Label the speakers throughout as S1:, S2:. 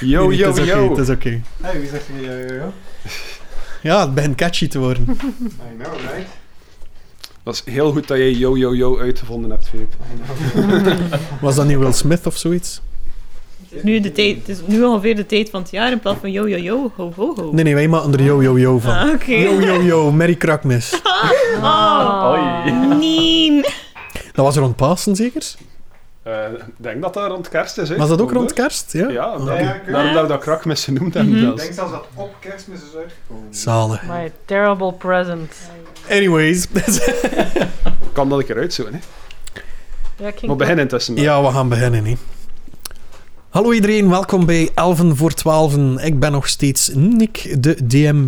S1: Yo,
S2: Nee, nee,
S1: yo,
S2: het is oké,
S1: yo.
S2: Het is oké.
S1: Hey, wie zegt er yo,
S3: eh,
S1: yo, yo?
S2: Ja, het begint catchy te worden.
S1: I know, right? Dat is heel goed dat jij yo, yo, yo uitgevonden hebt, Filip.
S2: Was dat niet Will Smith of zoiets?
S4: Het is nu, de tijd, het is nu ongeveer de tijd van het jaar in plaats van yo, yo, yo, ho, ho, ho.
S2: Nee, nee, wij maken er yo yo yo van.
S4: Ah, oké.
S2: Yo yo yo, Merry Krakmis.
S4: Oh,
S5: Oei.
S4: nee.
S2: Dat was rond Pasen zeker?
S1: Eh, Ik denk dat dat rond kerst is, hè?
S2: Was dat ook rond
S1: Volgende.
S2: kerst? Ja.
S1: Ja,
S2: Ah,
S1: dat-
S2: oké.
S1: daarom dat we dat krakmis genoemd hebben.
S4: Mhm.
S1: zelfs.
S3: zelfs dat op kerstmis is uitgekomen.
S2: Zalig.
S5: My terrible present.
S2: Anyways.
S1: kan dat een keer uitzoeken, hè?
S5: Ja, ik ging
S1: Maar begin intussen. dan.
S2: ja, we gaan beginnen. Hè. Hallo iedereen, welkom bij Elven voor 12. Ik ben nog steeds Nick, de DM.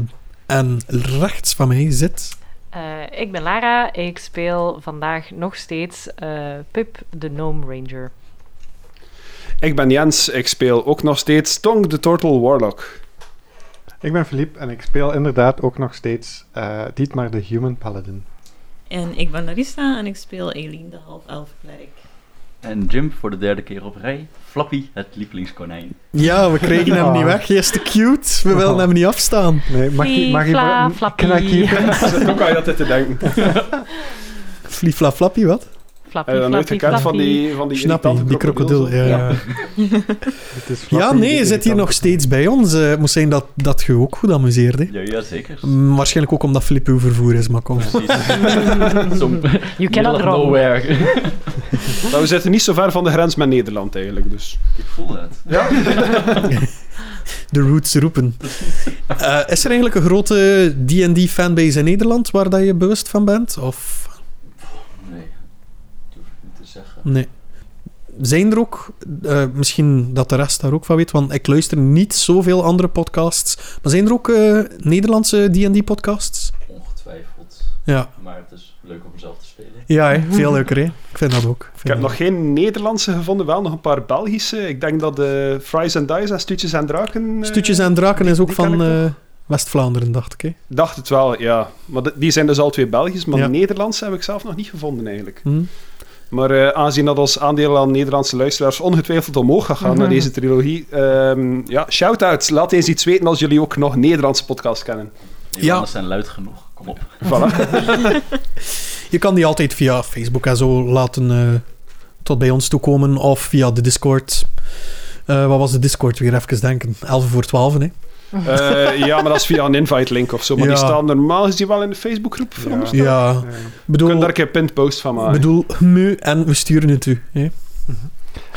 S2: En rechts van mij zit...
S5: Eh, ik ben Lara. Ik speel vandaag nog steeds eh, Pip, de Gnome Ranger.
S1: Ik ben Jens, ik speel ook nog steeds Tong the Turtle Warlock.
S3: Ik ben Filip en ik speel inderdaad ook nog steeds eh Dietmar de Human Paladin.
S4: En ik ben Larissa en ik speel Eileen, de half-elf klerk.
S6: En Jim voor de derde keer op rij. Flappy, het lievelingskonijn.
S2: Ja, we kregen hem
S3: Oh.
S2: niet weg. Hij is te cute. We wilden
S3: Oh.
S2: hem niet afstaan.
S3: Nee, mag je... Mag je
S5: Fla,
S3: mm,
S5: flappie.
S3: Can I keep it?
S1: Zit ook aan je altijd te denken.
S2: Flifla flappie, wat?
S5: Flappy,
S1: Heb je dan nooit
S5: flappy,
S1: gekend van
S5: flappy.
S1: die, van die
S2: Snappy,
S1: irritante
S2: die krokodil.
S1: krokodil,
S2: Ja,
S1: zo?
S2: ja.
S3: Het is
S2: ja
S3: flappy,
S2: nee, hij
S3: de
S2: zit hier
S3: irritante.
S2: nog steeds bij ons. Eh, Het moest zijn dat, dat je ook goed amuseert. Hè?
S6: Ja, ja zeker.
S2: Mm, waarschijnlijk ook omdat Filip uw vervoer is, maar kom.
S6: Precies. Zo'n
S5: You
S6: middle
S5: cannot
S6: of
S5: wrong.
S6: nowhere.
S1: Maar we zitten niet zo ver van de grens met Nederland eigenlijk, dus.
S6: Ik voel het.
S2: De roots roepen. Eh, is er eigenlijk een grote D&D-fanbase in Nederland waar dat je bewust van bent? Of
S6: Nee, dat durf ik niet te zeggen.
S2: nee? Zijn er ook, eh, misschien dat de rest daar ook van weet, want ik luister niet zoveel andere podcasts, maar zijn er ook eh, Nederlandse D&D-podcasts?
S6: Ongetwijfeld.
S2: Ja.
S6: Maar het is leuk om mezelf te spelen.
S2: Ja, hè. veel leuker, hè? Ik vind dat ook.
S1: Ik heb nog geen Nederlandse gevonden, wel nog een paar Belgische. Ik denk dat de Fries and Dice en Stuutjes en Draken... eh,
S2: Stutjes en Draken is ook
S1: die ken
S2: van
S1: ik
S2: eh, West-Vlaanderen, dacht ik. Hè?
S1: Dacht het wel, ja. Maar de- die zijn dus al twee Belgisch, maar
S2: Ja.
S1: Nederlandse heb ik zelf nog niet gevonden eigenlijk.
S2: Hm?
S1: Maar eh, aangezien dat ons aandeel aan Nederlandse luisteraars ongetwijfeld omhoog gaat gaan na
S2: Mhm.
S1: deze trilogie, ehm, ja, shout-outs. Laat eens iets weten als jullie ook nog Nederlandse podcasts kennen.
S6: Die
S2: Ja.
S6: mannen zijn luid genoeg. Kom op.
S1: Voilà.
S2: Je kan die altijd via Facebook en zo laten eh, tot bij ons toekomen of via de Discord. Eh, wat was de Discord weer? Even denken. 11 voor 12, hè?
S1: Eh, ja, maar dat is via een invite link of zo. Maar
S2: Ja.
S1: die staan normaal gezien wel in de Facebookgroep.
S3: Ja.
S1: veronderstel ik.
S2: Ja,
S3: Ja.
S1: Je kunt
S2: bedoel,
S1: daar een keer pintpost van maken.
S2: bedoel mu en we sturen het u. Hè?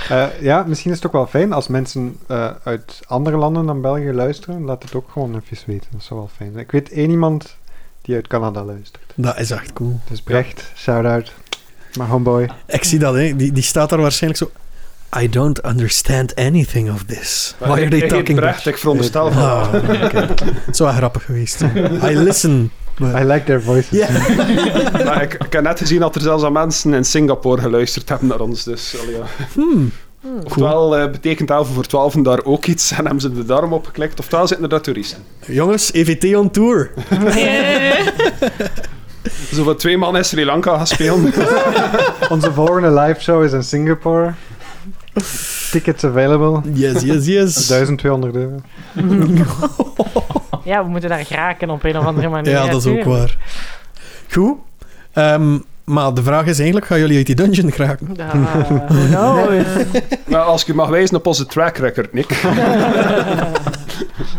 S3: Eh, ja, misschien is het ook wel fijn als mensen eh, uit andere landen dan België luisteren. Laat het ook gewoon even weten. Dat zou wel fijn zijn. Ik weet één iemand die uit Canada luistert.
S2: Dat is echt cool.
S3: Dus Brecht, shout-out. Maar homeboy.
S2: Ik zie dat, hè? Die, die staat daar waarschijnlijk zo. I don't understand anything of this. Why
S1: Maar
S2: are
S1: ik-
S2: they
S1: ik heet
S2: talking
S1: Brecht,
S2: Dutch?
S1: ik veronderstel van.
S2: Ah, oké. Het zou wel grappig geweest zijn. I listen.
S3: I like their
S2: Ja.
S3: voices.
S1: Maar ik, ik heb net gezien dat er zelfs aan mensen in Singapore geluisterd hebben naar ons. Dus, allee, ja.
S2: Hmm.
S1: Oftewel eh, betekent 11 voor 12 daar ook iets en hebben ze er daarom op geklikt. Oftewel zitten er daar toeristen.
S2: Jongens, EVT on tour.
S4: Eh,
S1: Zo voor twee man in Sri Lanka gaan spelen.
S3: Onze volgende live show is in Singapore. Tickets available.
S2: Yes, yes, yes.
S3: 1200 euro.
S5: Ja, we moeten daar geraken op een of andere manier.
S2: Ja, dat is ook
S5: tuurlijk.
S2: waar. Goed. Ehm, maar de vraag is eigenlijk, gaan jullie uit die dungeon geraken?
S5: Ja, who knows?
S1: maar als ik u mag wijzen op onze track record, Nick.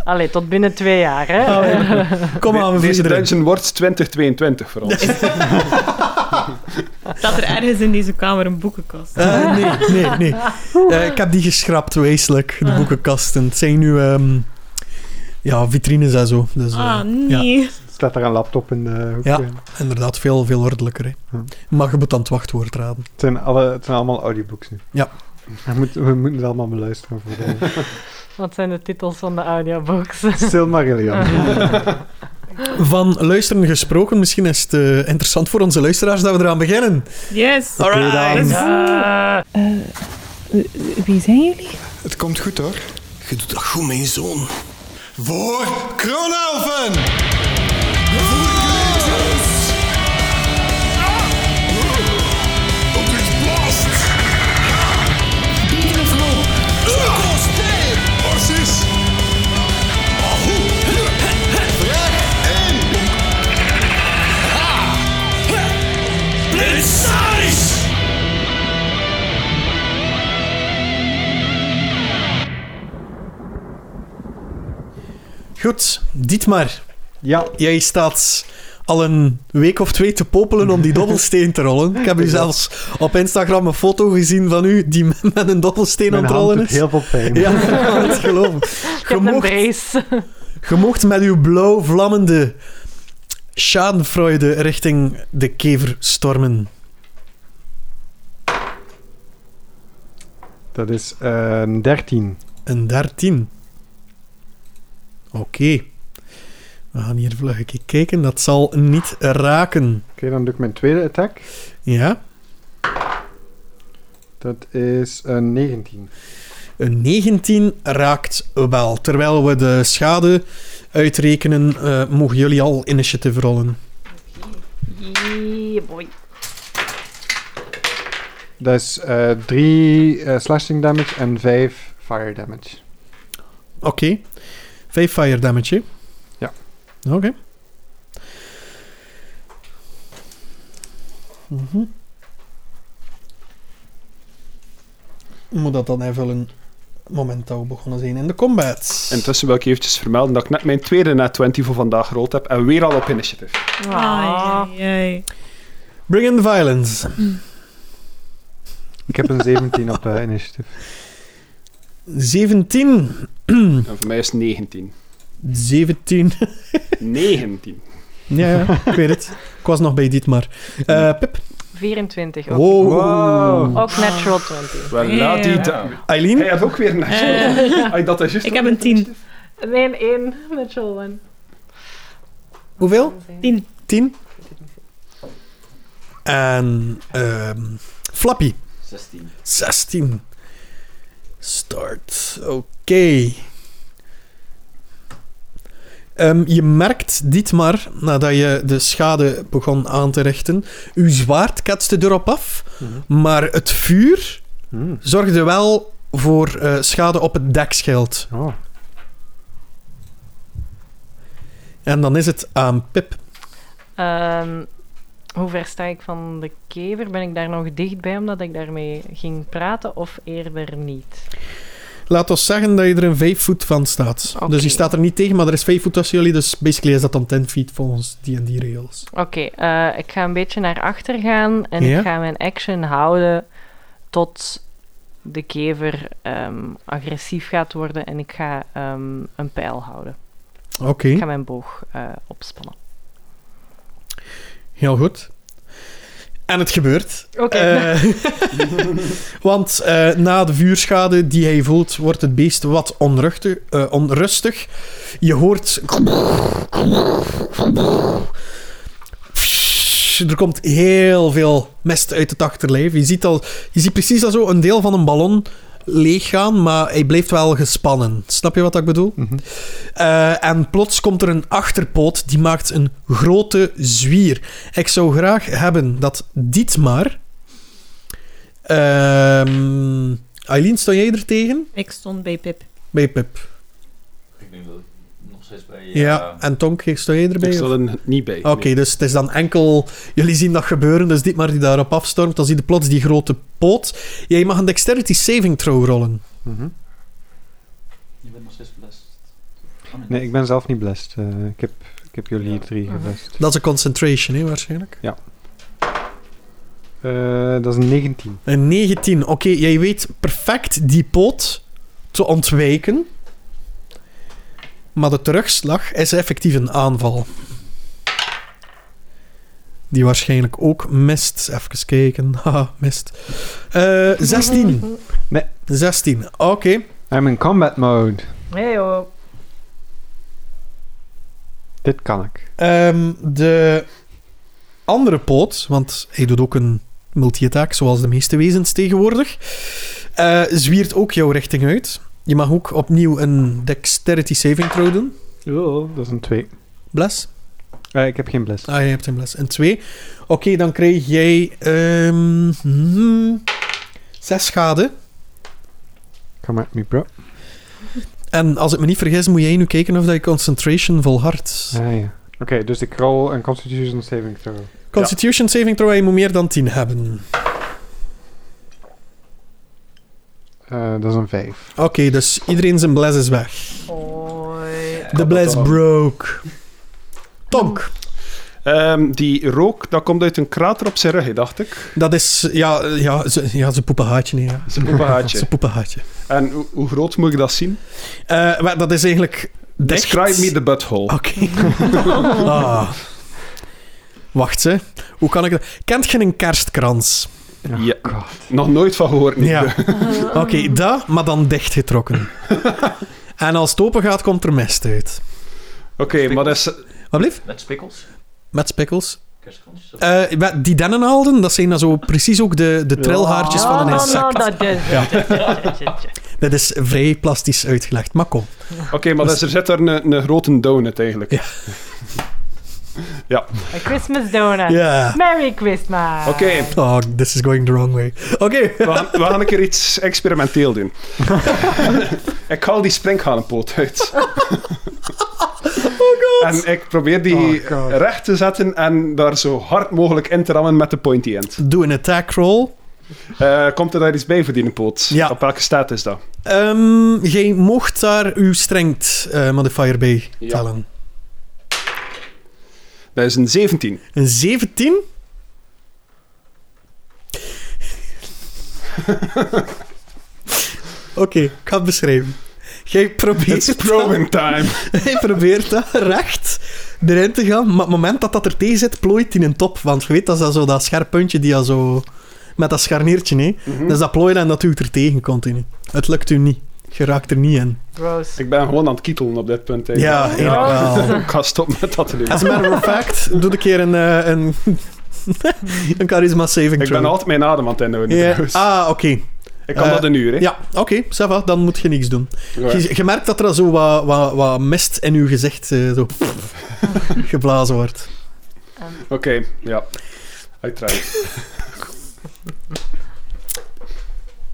S5: Allee, tot binnen twee jaar, hè?
S2: Ah, Kom aan, we
S1: Deze
S2: vliegen erin.
S1: dungeon wordt 2022 voor ons.
S4: Staat er ergens in deze kamer een boekenkast? Ah,
S2: Eh, nee, nee, nee. Eh, ik heb die geschrapt, wezenlijk. De boekenkasten. Het zijn nu ehm, ja, vitrines en zo. Dus, eh,
S4: Ah, nee.
S3: Staat daar een laptop in de hoek.
S2: Ja. Inderdaad, veel, veel ordelijker. Hè.
S3: Hm.
S2: Maar je moet dan het wachtwoord raden.
S3: Het, zijn alle, het zijn allemaal audiobooks nu.
S2: Ja.
S3: We moeten, we moeten het allemaal beluisteren. Voor de
S5: Wat zijn de titels van de audiobooks?
S3: Silmarillion.
S2: Van luisteren gesproken, misschien is het eh, interessant voor onze luisteraars dat we eraan beginnen.
S4: Yes.
S2: Alright.
S4: Let's-
S5: Ja.
S4: Eh, Wie zijn jullie?
S7: Het komt goed hoor. Je doet dat goed, mijn zoon. Voor Kronelven! Voor Kratos! Op dit blast! Doe het gewoon! Zo kost, hey!
S2: Goed, Dietmar,
S3: Ja,
S2: jij staat al een week of twee te popelen om die dobbelsteen te rollen. Ik heb u zelfs op Instagram een foto gezien van u die met met een dobbelsteen aan
S3: mijn
S2: het
S3: hand
S2: rollen
S3: doet
S2: is.
S3: heel veel pijn.
S2: Ja, ik kan het geloven.
S5: Ik
S2: Je
S5: heb een
S2: mocht-
S5: brace.
S2: Je mocht met uw blauw vlammende schadenfreude richting de kever stormen.
S3: Dat is ehm 13.
S2: Een 13. Oké. We gaan hier vlug een keer kijken. Dat zal niet raken.
S3: Oké, dan doe ik mijn tweede attack.
S2: Ja,
S3: Dat is eh, een 19.
S2: een 19 raakt wel. Terwijl we de schade uitrekenen, eh, mogen jullie al initiatief rollen.
S5: Yeah, boy.
S3: Dat is 3 slashing damage en 5 fire damage.
S2: Oké. Vijf fire damage. hè?
S3: Ja.
S2: Oké. Mhm. Moet dat dan even een moment dat we begonnen zijn in de combat.
S1: Intussen wil ik eventjes vermelden dat ik net mijn tweede net 20 voor vandaag gerold heb en weer al op initiative.
S5: Ah.
S4: Ai, ai, ai.
S2: Bring in the violence.
S3: Ik heb een 17 op eh initiatief.
S2: 17. Hm.
S1: En voor mij is het 19.
S2: 17.
S1: 19.
S2: ja, ja, ik weet het. Ik was nog bij dit maar. Eh, Pip.
S5: 24 ook.
S2: Wow.
S1: Wow.
S5: Ook natural 20.
S1: Wel, laat die
S4: Ja.
S1: daar.
S2: Eileen?
S1: Hij had ook weer een
S2: Eh.
S1: natural. Ai, dat is juist
S4: Ik
S1: ook
S4: heb een 10.
S5: Mijn 1 natural 1.
S2: Hoeveel?
S4: 10.
S2: 10. En ehm, Flappy.
S6: 16.
S2: 16. Start. Oké. Ehm, je merkt, Dietmar, nadat je de schade begon aan te richten, uw zwaard ketste erop af, maar het vuur
S3: Hmm.
S2: zorgde wel voor eh, schade op het dekschild.
S3: Oh.
S2: En dan is het aan Pip.
S5: Ehm, hoe ver sta ik van de kever? Ben ik daar nog dichtbij omdat ik daarmee ging praten of eerder niet?
S2: Laat ons zeggen dat je er een 5 voet van staat.
S5: Oké.
S2: Dus je staat er niet tegen, maar er is 5 voet tussen jullie, dus basically is dat dan 10 feet volgens die en die regels.
S5: Oké, eh, ik ga een beetje naar achter gaan en
S2: Ja?
S5: ik ga mijn action houden tot de kever ehm, agressief gaat worden en ik ga ehm, een pijl houden.
S2: Oké.
S5: Ik ga mijn boog eh, opspannen.
S2: Heel goed. En het gebeurt.
S5: Oké.
S2: Eh, want eh, na de vuurschade die hij voelt, wordt het beest wat onruchtig. eh, onrustig. Je hoort. Er komt heel veel mest uit het achterlijf. Je ziet, al, je ziet precies al zo een deel van een ballon leeggaan, maar hij blijft wel gespannen. Snap je wat ik bedoel?
S3: Mhm.
S2: Eh, en plots komt er een achterpoot die maakt een grote zwier. Ik zou graag hebben dat Dietmar. Ehm, Eileen, sta jij er tegen?
S4: Ik stond bij Pip.
S2: Bij Pip.
S6: Ik denk dat ik nog steeds bij... eh,
S2: Ja. En Tonk, sta jij erbij?
S1: Ik
S2: of?
S1: zal er niet bij.
S2: Oké, dus het is dan enkel... Jullie zien dat gebeuren, dus Dietmar die daarop afstormt. Dan zie je plots die grote poot. Jij mag een dexterity saving throw rollen.
S3: Mhm.
S6: Je bent nog steeds blessed.
S3: Nee, ik ben zelf niet blessed. Eh, ik, heb, ik heb jullie
S6: Ja.
S3: drie
S5: Mhm.
S3: geblest.
S2: Dat is een concentration, hè, waarschijnlijk.
S3: Eh, dat is een 19.
S2: Een 19. Oké, jij weet perfect die poot te ontwijken. Maar de terugslag is effectief een aanval. Die waarschijnlijk ook mist. Even kijken. Haha, mist. Eh, 16.
S3: Nee.
S2: 16. Oké.
S3: I'm in combat mode.
S5: Hey joh.
S3: Dit kan ik.
S2: Ehm, de andere poot, want hij doet ook een multi-attack, zoals de meeste wezens tegenwoordig, eh, zwiert ook jouw richting uit. Je mag ook opnieuw een dexterity saving throw doen.
S3: Dat is een 2.
S2: Bless.
S3: ik heb geen blessed.
S2: Ah, je hebt een bless. Een 2. Oké, dan krijg jij... ehm hmm, zes schade.
S3: Come at me, bro.
S2: En als ik me niet vergis, moet jij nu kijken of dat je concentration volhardt.
S3: Ah, ja. Oké, dus ik roll een constitution saving throw.
S2: Constitution saving throw, je moet meer dan 10 hebben.
S3: Eh, dat is een 5. Eh,
S2: Oké, dus iedereen zijn bless is weg.
S5: Hoi.
S2: The Bless broke. Tonk.
S1: Ehm, die rook, dat komt uit een krater op zijn rug, hè, dacht ik.
S2: Dat is... Ja, ja, ze, ja, ze poepen haatje. Nee, ja.
S1: Zijn poepenhaatje.
S2: Ze poepen haatje.
S1: En hoe, hoe groot moet ik dat zien?
S2: Eh, maar dat is eigenlijk... Dicht.
S1: Describe me the butthole.
S2: Oké. Ah. Wacht, hè. Hoe kan ik dat... Kent je een kerstkrans?
S1: Ja. Nog nooit van gehoord, niet.
S2: oh Ja. Oké, dat, maar dan dichtgetrokken. en als het open gaat, komt er mest uit.
S1: Oké, maar dat is...
S2: Wat blieft?
S6: Met spikkels?
S2: Met spikkels.
S6: Kerstkrans?
S2: Eh, we- die dennenaalden, dat zijn dan zo precies ook de, de trilhaartjes van een
S5: Ah,
S2: insect.
S5: nou, dat is-
S2: Ja.
S5: dat is-
S2: Dat is vrij plastisch uitgelegd, maar kom.
S1: Oké, maar dat is, er zit daar een, een grote donut, eigenlijk.
S2: Ja.
S1: ja.
S5: A Christmas donut.
S2: Ja.
S5: Merry Christmas.
S1: Oké,
S2: Oh, this is going the wrong way. Oké.
S1: we, gaan- we gaan een keer iets experimenteel doen. ik haal die springhanenpoot uit. oh
S2: Oh
S1: god. En ik probeer die
S3: Oh god.
S1: recht te zetten en daar zo hard mogelijk in te rammen met de pointy end.
S2: Doe een attack roll.
S1: Eh, komt er daar iets bij voor die poot?
S2: Ja.
S1: Op welke staat is dat?
S2: Ehm jij mocht daar uw strength eh, modifier bij
S1: Ja.
S2: tellen.
S1: Dat is een 17.
S2: Een 17? Oké, ik ga het beschrijven. Jij probeert,
S1: Probing time.
S2: jij probeert dat recht erin te gaan, maar op het moment dat dat er tegen zit, plooit hij een top. Want je weet, dat is dat, zo, dat scherp puntje die al zo... Met dat scharniertje, hè.
S1: Mhm. Hm.
S2: Dus dat plooit en dat duwt er tegen continu. Het lukt u niet. Je raakt er niet in.
S5: Gross.
S1: Ik ben gewoon aan het kietelen op dit punt. eigenlijk.
S2: Ja, inderdaad.
S1: Ik ga stoppen met dat te doen.
S2: As a matter of fact, doe een keer een, eh, een, een charisma saving
S1: Ik
S2: throw.
S1: ben altijd mijn adem aan het inhouden.
S2: Ja.
S1: trouwens.
S2: Ah, oké.
S1: ik kan
S2: eh,
S1: dat een uur, hè?
S2: Ja, oké, ça va, dan moet je niks doen.
S1: Ja.
S2: Je, je merkt dat er zo wat, wat, wat mist in je gezicht eh, zo geblazen wordt.
S1: Oké, ja. Uiteraard.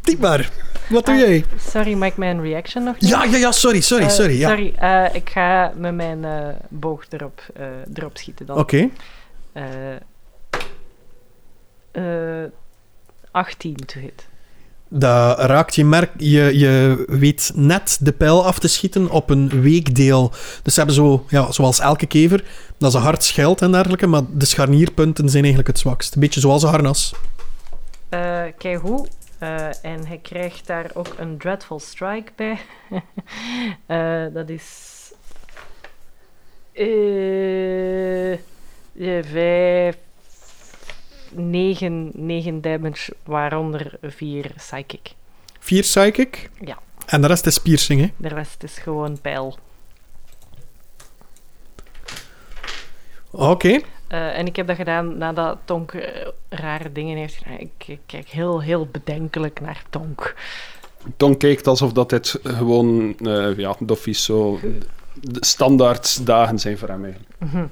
S2: Dietmar, wat doe jij?
S5: Sorry, mag ik mijn reaction nog doen?
S2: Ja, ja, ja, sorry, sorry,
S5: Eh,
S2: sorry. Ja.
S5: Sorry, eh, ik ga met mijn eh, boog erop, eh, erop schieten dan.
S2: Oké,
S5: Eh, eh, 18 to hit.
S2: dat raakt je merk. Je, je weet net de pijl af te schieten op een weekdeel. Dus ze hebben zo, ja, zoals elke kever, dat is een hard schild en dergelijke, maar de scharnierpunten zijn eigenlijk het zwakst. Een beetje zoals een harnas.
S5: Eh kijk hoe. Eh, en hij krijgt daar ook een Dreadful Strike bij. Eh, dat is. eh eh, vijf. 9, 9 damage, waaronder 4 psychic.
S2: Vier psychic.
S5: Ja.
S2: En de rest is piercing, hè?
S5: De rest is gewoon pijl.
S2: Oké.
S5: Eh, en ik heb dat gedaan nadat Tonk eh, rare dingen heeft gedaan. Ik, ik kijk heel, heel bedenkelijk naar Tonk.
S1: Don kijkt alsof dat dit gewoon, eh ja, doffies zo de standaard dagen zijn voor hem eigenlijk.
S2: Een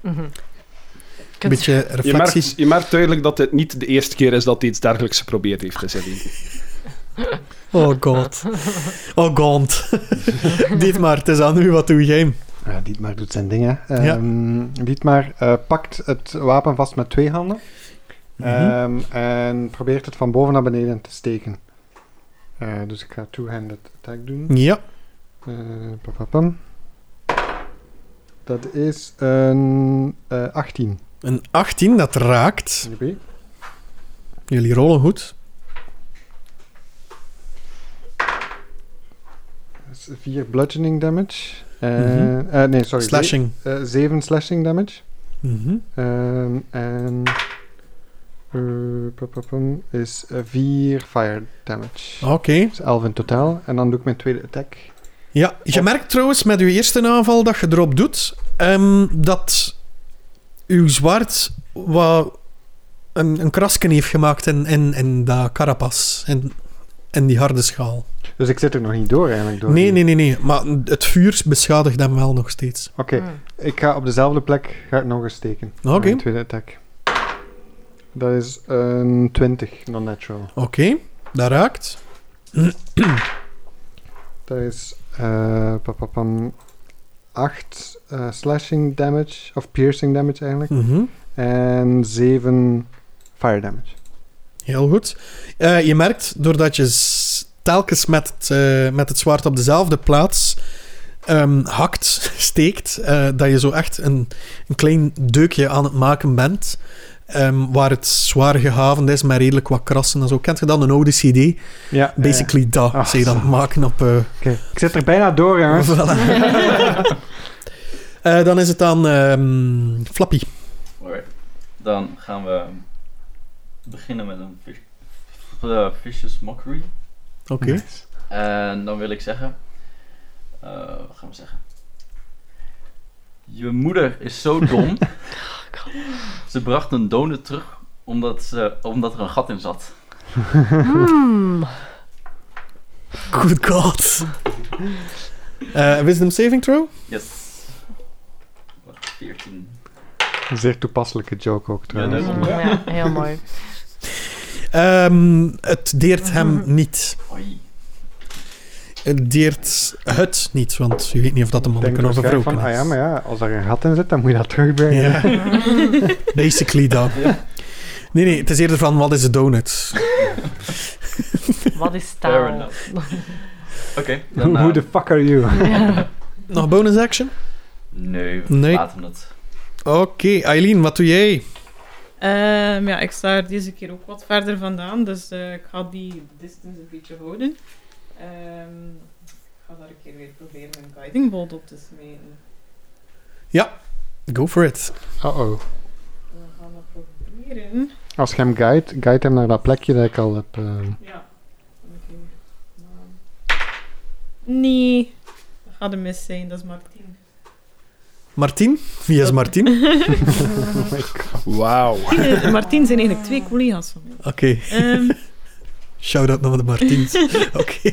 S5: Mhm. Kunt-
S2: beetje
S1: Je
S2: reflecties.
S1: merkt, je merkt duidelijk dat dit niet de eerste keer is dat hij iets dergelijks geprobeerd heeft. Is het niet?
S2: Oh god. Oh god. Dit maar, het is aan u, wat doe jij?
S3: Ja, Dietmar doet zijn dingen.
S2: Ja.
S3: Ehm Dietmar eh, pakt het wapen vast met twee handen. Ehm, en probeert het van boven naar beneden te steken. Eh, dus ik ga two-handed attack doen.
S2: Ja.
S3: Eh, pa, pa, pam. Dat is een eh 18.
S2: Een 18, dat raakt.
S3: Oké.
S2: Jullie rollen goed.
S3: Dat is 4 bludgeoning damage. Eh, eh, nee, sorry.
S2: Mhm. Slashing.
S3: 7 slashing damage.
S2: Mhm.
S3: Ehm, en. eh, pa, pa, pam, is 4 fire damage.
S2: Oké.
S3: Dus 11 in totaal. En dan doe ik mijn tweede attack.
S2: Ja, je merkt trouwens met uw eerste aanval dat je erop doet, ehm, dat uw zwart wat een, een krasken heeft gemaakt in, in, in dat carapas, in, in die harde schaal.
S3: Dus ik zit er nog niet door eigenlijk. Door
S2: Nee,
S3: die-
S2: nee, nee, nee, maar het vuur beschadigt hem wel nog steeds.
S3: Oké, ik ga op dezelfde plek ga ik nog eens steken.
S2: Oké.
S3: Mijn tweede attack. Dat is een 20, non-natural.
S2: Oké, dat raakt.
S3: Dat is eh pa, pa, pam, 8 eh, slashing damage, of piercing damage eigenlijk.
S2: Mhm.
S3: En 7 fire damage.
S2: Heel goed. Eh, je merkt, doordat je s- telkens met het, eh, met het zwaard op dezelfde plaats ehm, hakt, steekt, eh, dat je zo echt een, een klein deukje aan het maken bent, ehm, waar het zwaar gehavend is, maar redelijk wat krassen en zo. Kent je dan een oude CD?
S3: Ja, ja,
S2: Basically dat,
S3: Ah,
S2: ze je dan
S3: zo.
S2: maken op... eh,
S3: ja. Oké, Ik zit er bijna door, jongens.
S2: voilà. Eh, dan is het aan ehm, Flappy.
S6: Alright. Dan gaan we beginnen met een fish, eh, vicious mockery.
S2: Oké.
S3: Nice.
S6: En dan wil ik zeggen. eh, wat gaan we zeggen? Je moeder is zo dom. ze bracht een donut terug omdat, ze, omdat er een gat in zat.
S5: Hmm.
S2: Good god. Eh, wisdom saving throw?
S6: Yes. Wat, 14.
S3: Een zeer toepasselijke joke ook trouwens.
S6: dat is-
S5: Mm, ja, heel mooi.
S2: Ehm, het deert hem niet.
S6: Oei.
S2: Het deert het niet, want je weet niet of dat een
S3: Ik
S2: man
S3: denk
S2: kan of een vrouw
S3: waarschijnlijk van,
S2: kan.
S3: ah ja, maar ja, als er een gat in zit, dan moet je dat terugbrengen.
S2: Ja. Basically dat. Nee, nee, het is eerder van wat is de donut?
S5: Wat is
S6: Fair
S5: taal?
S6: enough. Oké, dan.
S3: Who,
S6: eh,
S3: who the fuck are you?
S2: Nog bonus action?
S6: Nee, we
S2: Nee.
S6: laten het.
S2: Oké, Eileen, wat doe jij?
S4: Ehm, ja, ik sta er deze keer ook wat verder vandaan, dus eh, ik ga die distance een beetje houden. Ehm, ik ga daar een keer weer proberen mijn guiding bolt op te smeten.
S2: Go for it.
S3: Uh-oh.
S4: We gaan dat proberen.
S3: Als je hem guide, guide hem naar dat plekje dat ik al heb. eh,
S4: Ja. Oké. Nou. Nee, dat gaat een mis zijn, dat is Martin.
S2: Martien? Wie is Martien?
S1: Wauw.
S4: Martin, Martin zijn eigenlijk twee collega's van mij.
S2: Oké,
S6: Ah.
S4: Ehm,
S2: shout-out naar de Martiens. Oké.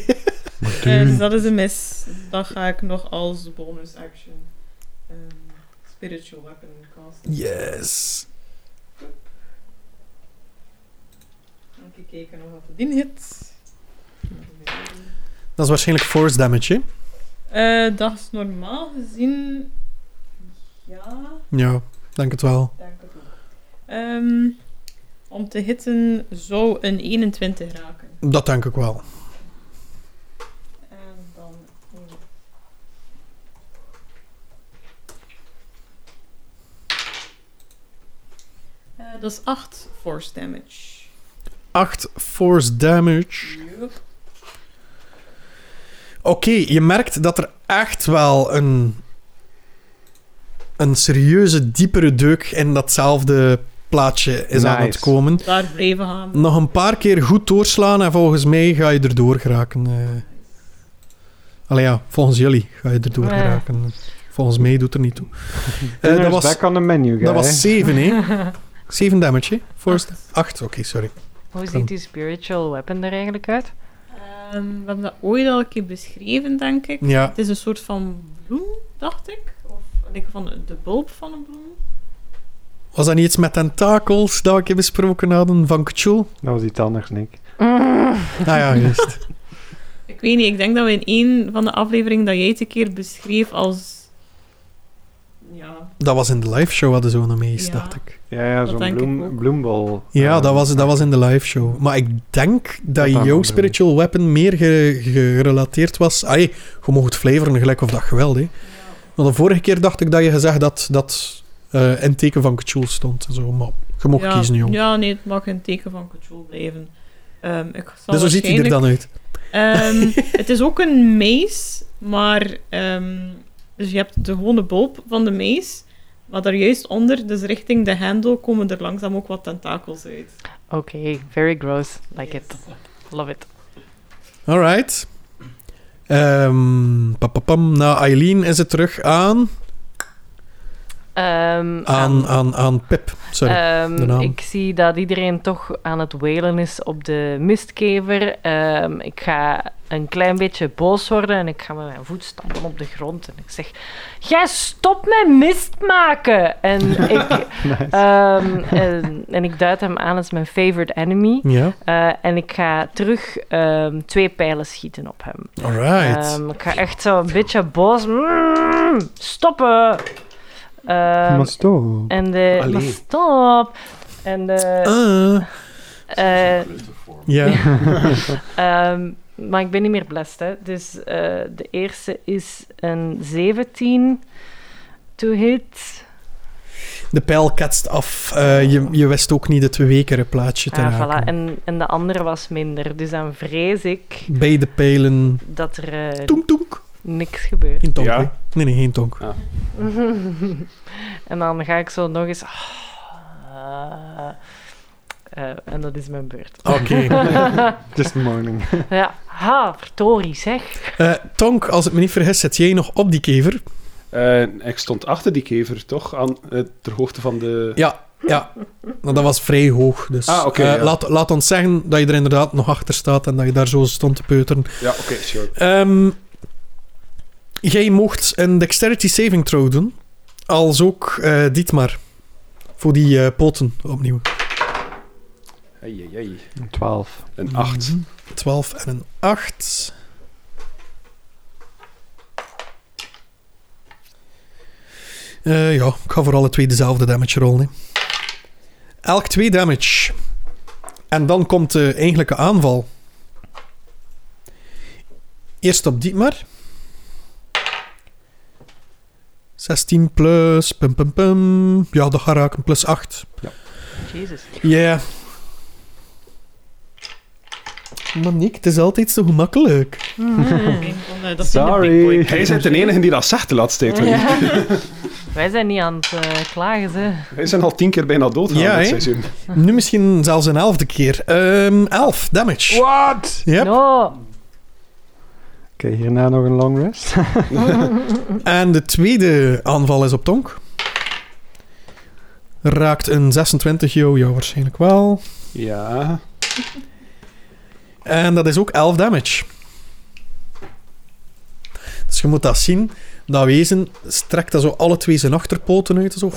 S4: Eh, dus dat is een mis. Dan ga ik nog als bonus action ehm, spiritual weapon casten.
S2: Yes.
S4: Even kijken of dat die hit.
S2: Dat is waarschijnlijk force damage, hè?
S4: Eh, dat is normaal gezien. Ja,
S2: Ja, denk het wel.
S4: denk het ook. Ehm, om te hitten zou een 21 raken.
S2: Dat denk ik wel.
S4: En dan. oh. Eh, dat is 8 force damage.
S2: 8 force damage.
S4: Yup.
S2: Oké, je merkt dat er echt wel een, een serieuze, diepere deuk in datzelfde plaatje is aan het
S3: Nice.
S2: komen.
S4: Daar blijven gaan.
S2: Nog een paar keer goed doorslaan en volgens mij ga je erdoor geraken. eh. Allee ja, volgens jullie ga je erdoor
S5: Ja.
S2: geraken. Volgens mij doet er niet toe. Eh,
S3: dinner's
S2: dat was,
S3: back on the menu, guy.
S2: dat was 7, hè? 7 damage, hè? Force 8, oké, sorry.
S5: Hoe ziet die spiritual weapon er eigenlijk uit?
S4: Ehm, we hebben dat ooit al een keer beschreven, denk ik.
S2: Ja,
S4: Het is een soort van bloem, dacht ik. Of denk ik, van de- de bulb van een bloem.
S2: was dat niet iets met tentakels dat we een keer besproken hadden van K'Chul?
S3: Dat was iets anders, Nick.
S2: Ah ja, juist.
S4: Ik weet niet, ik denk dat we in één van de afleveringen dat jij het een keer beschreef als... Ja,
S2: Dat was in de live show hadden ze nog mee,
S4: Ja.
S2: dacht ik.
S3: Ja, ja
S4: Dat
S3: zo'n
S4: denk ik
S3: bloem,
S4: ook.
S3: bloembol.
S2: Ja,
S3: eh,
S2: dat was, dat was in de live show. Maar ik denk dat
S3: Dat aan
S2: jouw
S3: andere
S2: spiritual weapon meer ge- gerelateerd was. Ah, je mocht het flavoren gelijk of dat geweld. Hè. Want de vorige keer dacht ik dat je gezegd dat dat eh, in het teken van Cthulhu stond. en Zo. Maar je mocht
S4: ja,
S2: kiezen, joh.
S4: Ja, nee, het mag een teken van control blijven. Ehm, ik zal
S2: dus zo ziet hij er
S4: waarschijnlijk-
S2: dan uit.
S4: Ehm, het is ook een maze, maar... ehm, dus je hebt de gewone bulb van de maze, maar daar juist onder, dus richting de hendel, komen er langzaam ook wat tentakels uit.
S5: Oké, very gross. Like it. Love it.
S2: Alright. Ehm papapam, na Eileen is het terug aan...
S5: Ehm,
S2: Aan, aan, aan Pip. Sorry.
S4: Eh.
S5: Ehm,
S2: de naam.
S5: ik zie dat iedereen toch aan het welen is op de mistkever. Ehm, ik ga een klein beetje boos worden en ik ga met mijn voet stampen op de grond. En ik zeg, jij stopt met mist maken! En ik, ehm, en, en ik duid hem aan als mijn favorite enemy.
S2: ja,
S5: Eh, en ik ga terug ehm, twee pijlen schieten op hem.
S2: alright.
S5: Ehm, ik ga echt zo een beetje boos... Mm, stoppen! Ehm,
S3: Maar stop.
S5: en de...
S1: Allee.
S5: Maar stop! En de...
S2: Ah,
S5: eh,
S2: Eh. ja.
S5: ehm, maar ik ben niet meer blessed. Hè. Dus eh, de eerste is een 17 to hit.
S2: De pijl ketst af. Eh, je, je wist ook niet het wekere plaatje te
S5: Ah,
S2: raken.
S5: voilà. en, en de andere was minder. Dus dan vrees ik
S2: Beide pijlen...
S5: dat er eh,
S2: Toenk, toenk.
S5: niks gebeurt.
S2: Geen tonk,
S1: Ja.
S2: hè? Nee, nee, geen tonk.
S5: en dan ga ik zo nog eens. ah, eh, en dat is mijn beurt.
S2: Oké.
S3: Just morning.
S5: Ja, ha, verdorie zeg.
S2: Eh, tonk, als ik me niet vergis, zit jij nog op die kever.
S1: Eh, ik stond achter die kever, toch? Aan, eh, ter hoogte van de...
S2: Ja, ja. Nou, dat was vrij hoog. Dus
S1: Ah, oké,
S2: eh,
S1: ja.
S2: laat, laat ons zeggen dat je er inderdaad nog achter staat en dat je daar zo stond te peuteren.
S1: Ja, oké, sure.
S2: Ehm, jij mocht een dexterity saving throw doen. Als ook eh Dietmar. Voor die eh, poten opnieuw.
S1: Hey, hey, hey.
S3: 12.
S1: Een
S2: Mhm.
S1: 8.
S2: 12 en een 8. Eh, ja, ik ga voor alle twee dezelfde damage rollen. hè. Elk 2 damage. En dan komt de eigenlijke aanval. Eerst op Dietmar. 16 plus. Pum, pum, pum. Ja, dat gaat raken. Plus 8.
S5: Jezus.
S2: Ja. Maar Nick, het is altijd zo gemakkelijk.
S4: Oké, dan, eh, dat is in de
S3: Sorry.
S4: Big Boy.
S1: Hij is de enige die dat zegt de laatste tijd. Ronnie.
S5: Wij zijn niet aan het eh, klagen, ze.
S1: Wij zijn al tien keer bijna dood gegaan
S2: Ja,
S1: dit
S2: hè?
S1: seizoen.
S2: Nu misschien zelfs een elfde keer. Ehm elf damage.
S3: What?
S2: Yep.
S5: No.
S3: Oké, hierna nog een long rest.
S2: En de tweede aanval is op Tonk. Raakt een 26, yo, ja, waarschijnlijk wel.
S1: Ja.
S2: En dat is ook 11 damage. Dus je moet dat zien. Dat wezen strekt dat zo alle twee zijn achterpoten uit. Zo.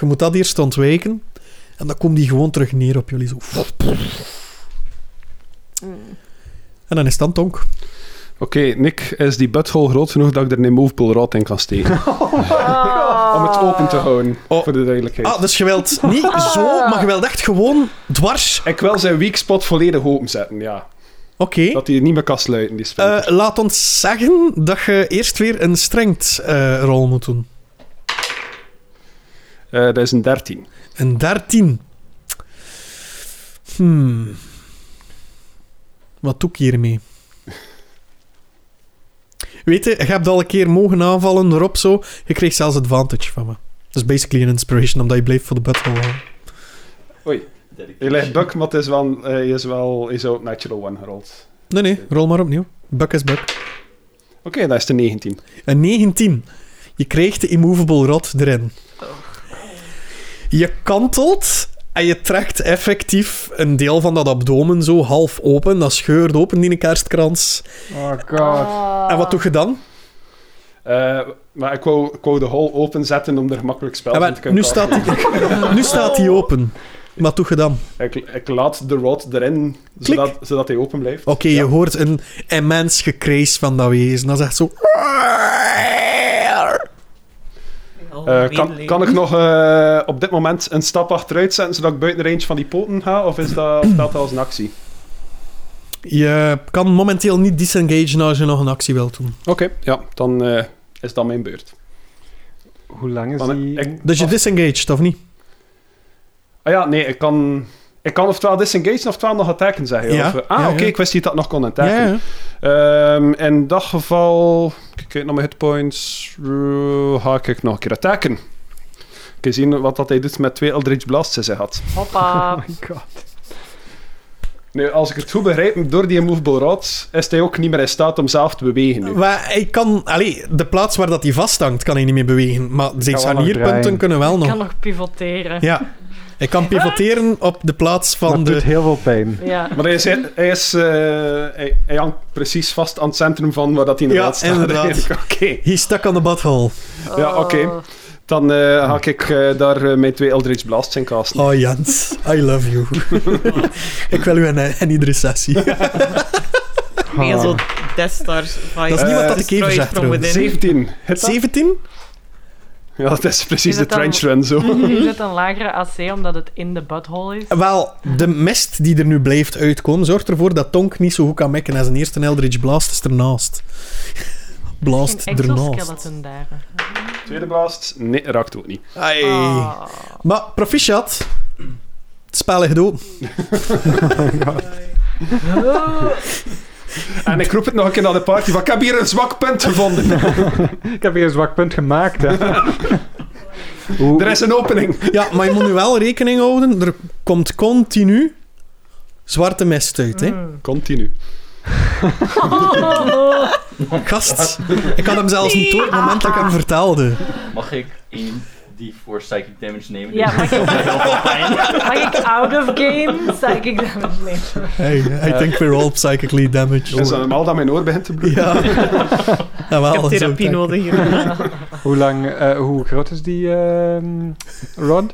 S2: Je moet dat eerst ontwijken. En dan komt die gewoon terug neer op jullie. Zo. En dan is het dan tonk.
S1: Oké, Nick, is die butthole groot genoeg dat ik er een movable rod in kan steken? Om het open te houden,
S2: Oh.
S1: voor de duidelijkheid.
S2: Ah, dus je wilt niet zo, maar je wilt echt gewoon dwars.
S1: Ik wil zijn weak spot volledig openzetten, ja.
S2: Oké.
S1: Dat hij niet meer kan sluiten, die spel.
S2: Eh, laat ons zeggen dat je eerst weer een strengt eh, rol moet doen.
S1: Eh, dat is een 13.
S2: Een 13. Hmm. Wat doe ik hiermee? Weet je, je hebt al een keer mogen aanvallen erop zo. Je kreeg zelfs advantage van me. Dat is basically een inspiration, omdat je bleef voor de battle. gaan.
S1: Je ligt buck, maar het is wel, eh, hij is wel hij is ook natural one gerold.
S2: Nee, nee, rol maar opnieuw. Buck is buck.
S1: Oké, dat is de 19.
S2: Een 19. Je kreeg de immovable rod erin. Je kantelt en je trekt effectief een deel van dat abdomen zo half open. Dat scheurt open, die kerstkrans.
S3: Oh god.
S2: En wat doe je dan?
S1: Eh, maar ik wou, ik wou de hole openzetten om er gemakkelijk spel
S2: Ja,
S1: in
S2: maar
S1: te kunnen
S2: nu,
S1: casten.
S2: staat die, nu staat die open. Wat doe je dan?
S1: Ik, ik laat de rod erin, zodat, zodat hij open blijft.
S2: Oké, je hoort een immens gekrees van dat wezen. Dat is echt zo...
S4: Oh,
S1: Eh, kan,
S4: medeleven.
S1: kan ik nog eh, op dit moment een stap achteruit zetten, zodat ik buiten de range van die poten ga? Of is dat, staat dat als een actie?
S2: Je kan momenteel niet disengage als je nog een actie wilt doen.
S1: Oké, ja, dan eh, is dat mijn beurt.
S3: Hoe lang is
S1: Want
S3: die?
S1: ik-
S2: Dus je
S1: Of-
S2: disengaged, of niet?
S1: Ah ja, nee, ik kan, ik kan oftewel disengage oftewel nog attacken, zeg je.
S2: Ja,
S1: Of, eh, ah,
S2: ja,
S1: oké,
S2: ja.
S1: ik wist niet dat ik nog kon
S2: Ja,
S1: attacken.
S2: ja.
S1: Ehm, in dat geval, ik kijk naar mijn hitpoints, eh, ga ik nog een keer attacken. Ik kan zien wat dat hij doet met twee Eldritch Blasts die hij had.
S5: Hoppa.
S3: Oh my god.
S1: Nu, als ik het goed begrijp, door die immovable rod is hij ook niet meer in staat om zelf te bewegen nu.
S2: Maar hij kan... Allee, de plaats waar dat hij vasthangt, kan hij niet meer bewegen. Maar zijn
S3: wel nog
S2: scharnierpunten
S3: draaien.
S2: kunnen wel
S5: Ik
S2: nog...
S5: kan nog pivoteren.
S2: Ja. Hij kan pivoteren op de plaats
S3: Maar
S2: van
S3: het doet
S2: de...
S3: heel veel pijn.
S5: Ja.
S1: Maar hij, is, hij, is, eh, hij, hij hangt precies vast aan het centrum van waar dat hij inderdaad
S2: Ja,
S1: staat.
S2: inderdaad.
S1: Oké,
S2: Hij stak aan de badhal.
S1: Ja, oké.
S5: Oh.
S1: dan eh, ga ik eh, daar eh, mijn twee Eldritch Blasts in casten.
S2: Oh, Jans, I love you. ik wil u in, eh, in iedere sessie.
S4: Meer zo
S3: Ah.
S4: Death Star vibes.
S2: Dat is niet wat dat ik even
S4: Destroyed
S2: zeg,
S4: from within.
S1: 17. Hit dat?
S2: 17?
S1: Ja, dat is precies
S5: Is
S1: de
S5: dat dan-
S1: trench run zo.
S5: Is het een lagere AC omdat het in de butthole is?
S2: Wel, de mist die er nu blijft uitkomen, zorgt ervoor dat Tonk niet zo goed kan mekken. En zijn eerste Eldritch Blast is ernaast. Blast
S5: Een
S2: ernaast.
S5: exoskeleton daar.
S1: Tweede blast? Nee, raakt ook niet.
S2: Ai.
S5: Oh.
S2: Maar proficiat. Het spel ligt open.
S1: En ik roep het nog een keer naar de party, van ik heb hier een zwak punt gevonden.
S3: Ik heb weer een zwak punt gemaakt. Hè. Hoe-
S1: Er is een opening.
S2: Ja, maar je moet nu wel rekening houden. Er komt continu zwarte mist uit. Hè.
S4: Hmm.
S1: Continu.
S2: Gast, ik had hem zelfs niet door op het moment dat ik hem vertelde.
S6: Mag ik één die voor psychic damage nemen?
S5: Ja, mag ik,
S6: Heel veel pijn.
S5: mag ik out of game? Zeg ik dat nee.
S2: Hey, I think we're all psychically damaged.
S1: Dus al dat mijn oor begint te bloeden.
S2: Ja. Jawel,
S4: Ik
S2: Oh,
S4: heb
S2: zo
S4: therapie
S2: denk ik.
S4: nodig hier.
S3: Hoe lang, eh, hoe groot is die ehm, rod?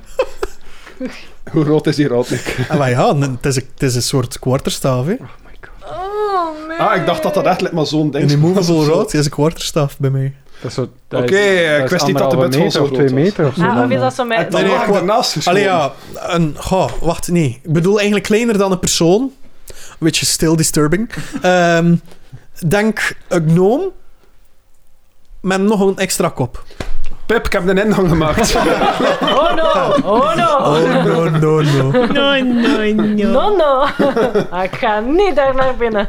S1: Hoe rood is die rood, Nick?
S2: Ah, maar ja, n- het is, een, het is een soort kwarterstaaf. Hè.
S5: Oh, nee.
S1: Ah, ik dacht dat dat echt maar zo'n ding
S2: Een immovable
S1: was.
S2: rod is een kwarterstaaf bij mij.
S3: Dat is zo- dat
S1: Oké,
S3: is- dat is
S1: eh, ik wist niet dat de
S3: anderhalve
S1: butthole
S3: meter
S1: zo
S3: of
S1: groot
S3: twee
S1: was.
S3: meter of zo.
S5: Ah,
S3: dan,
S5: of is
S3: eh.
S5: dat zo
S1: En
S5: met...
S1: dan
S2: Nee,
S1: lag ik
S2: ik-
S1: ernaast geschoten.
S2: Allee ja, een, goh, wacht, nee. Ik bedoel eigenlijk kleiner dan een persoon. Which is still disturbing. Ehm, denk een gnome met nog een extra kop.
S1: Pip, ik heb een ingang gemaakt.
S5: Oh no, oh no.
S2: Oh, no, no, no.
S4: No, no, no.
S5: No, no. Ah, Ik ga niet daar naar binnen.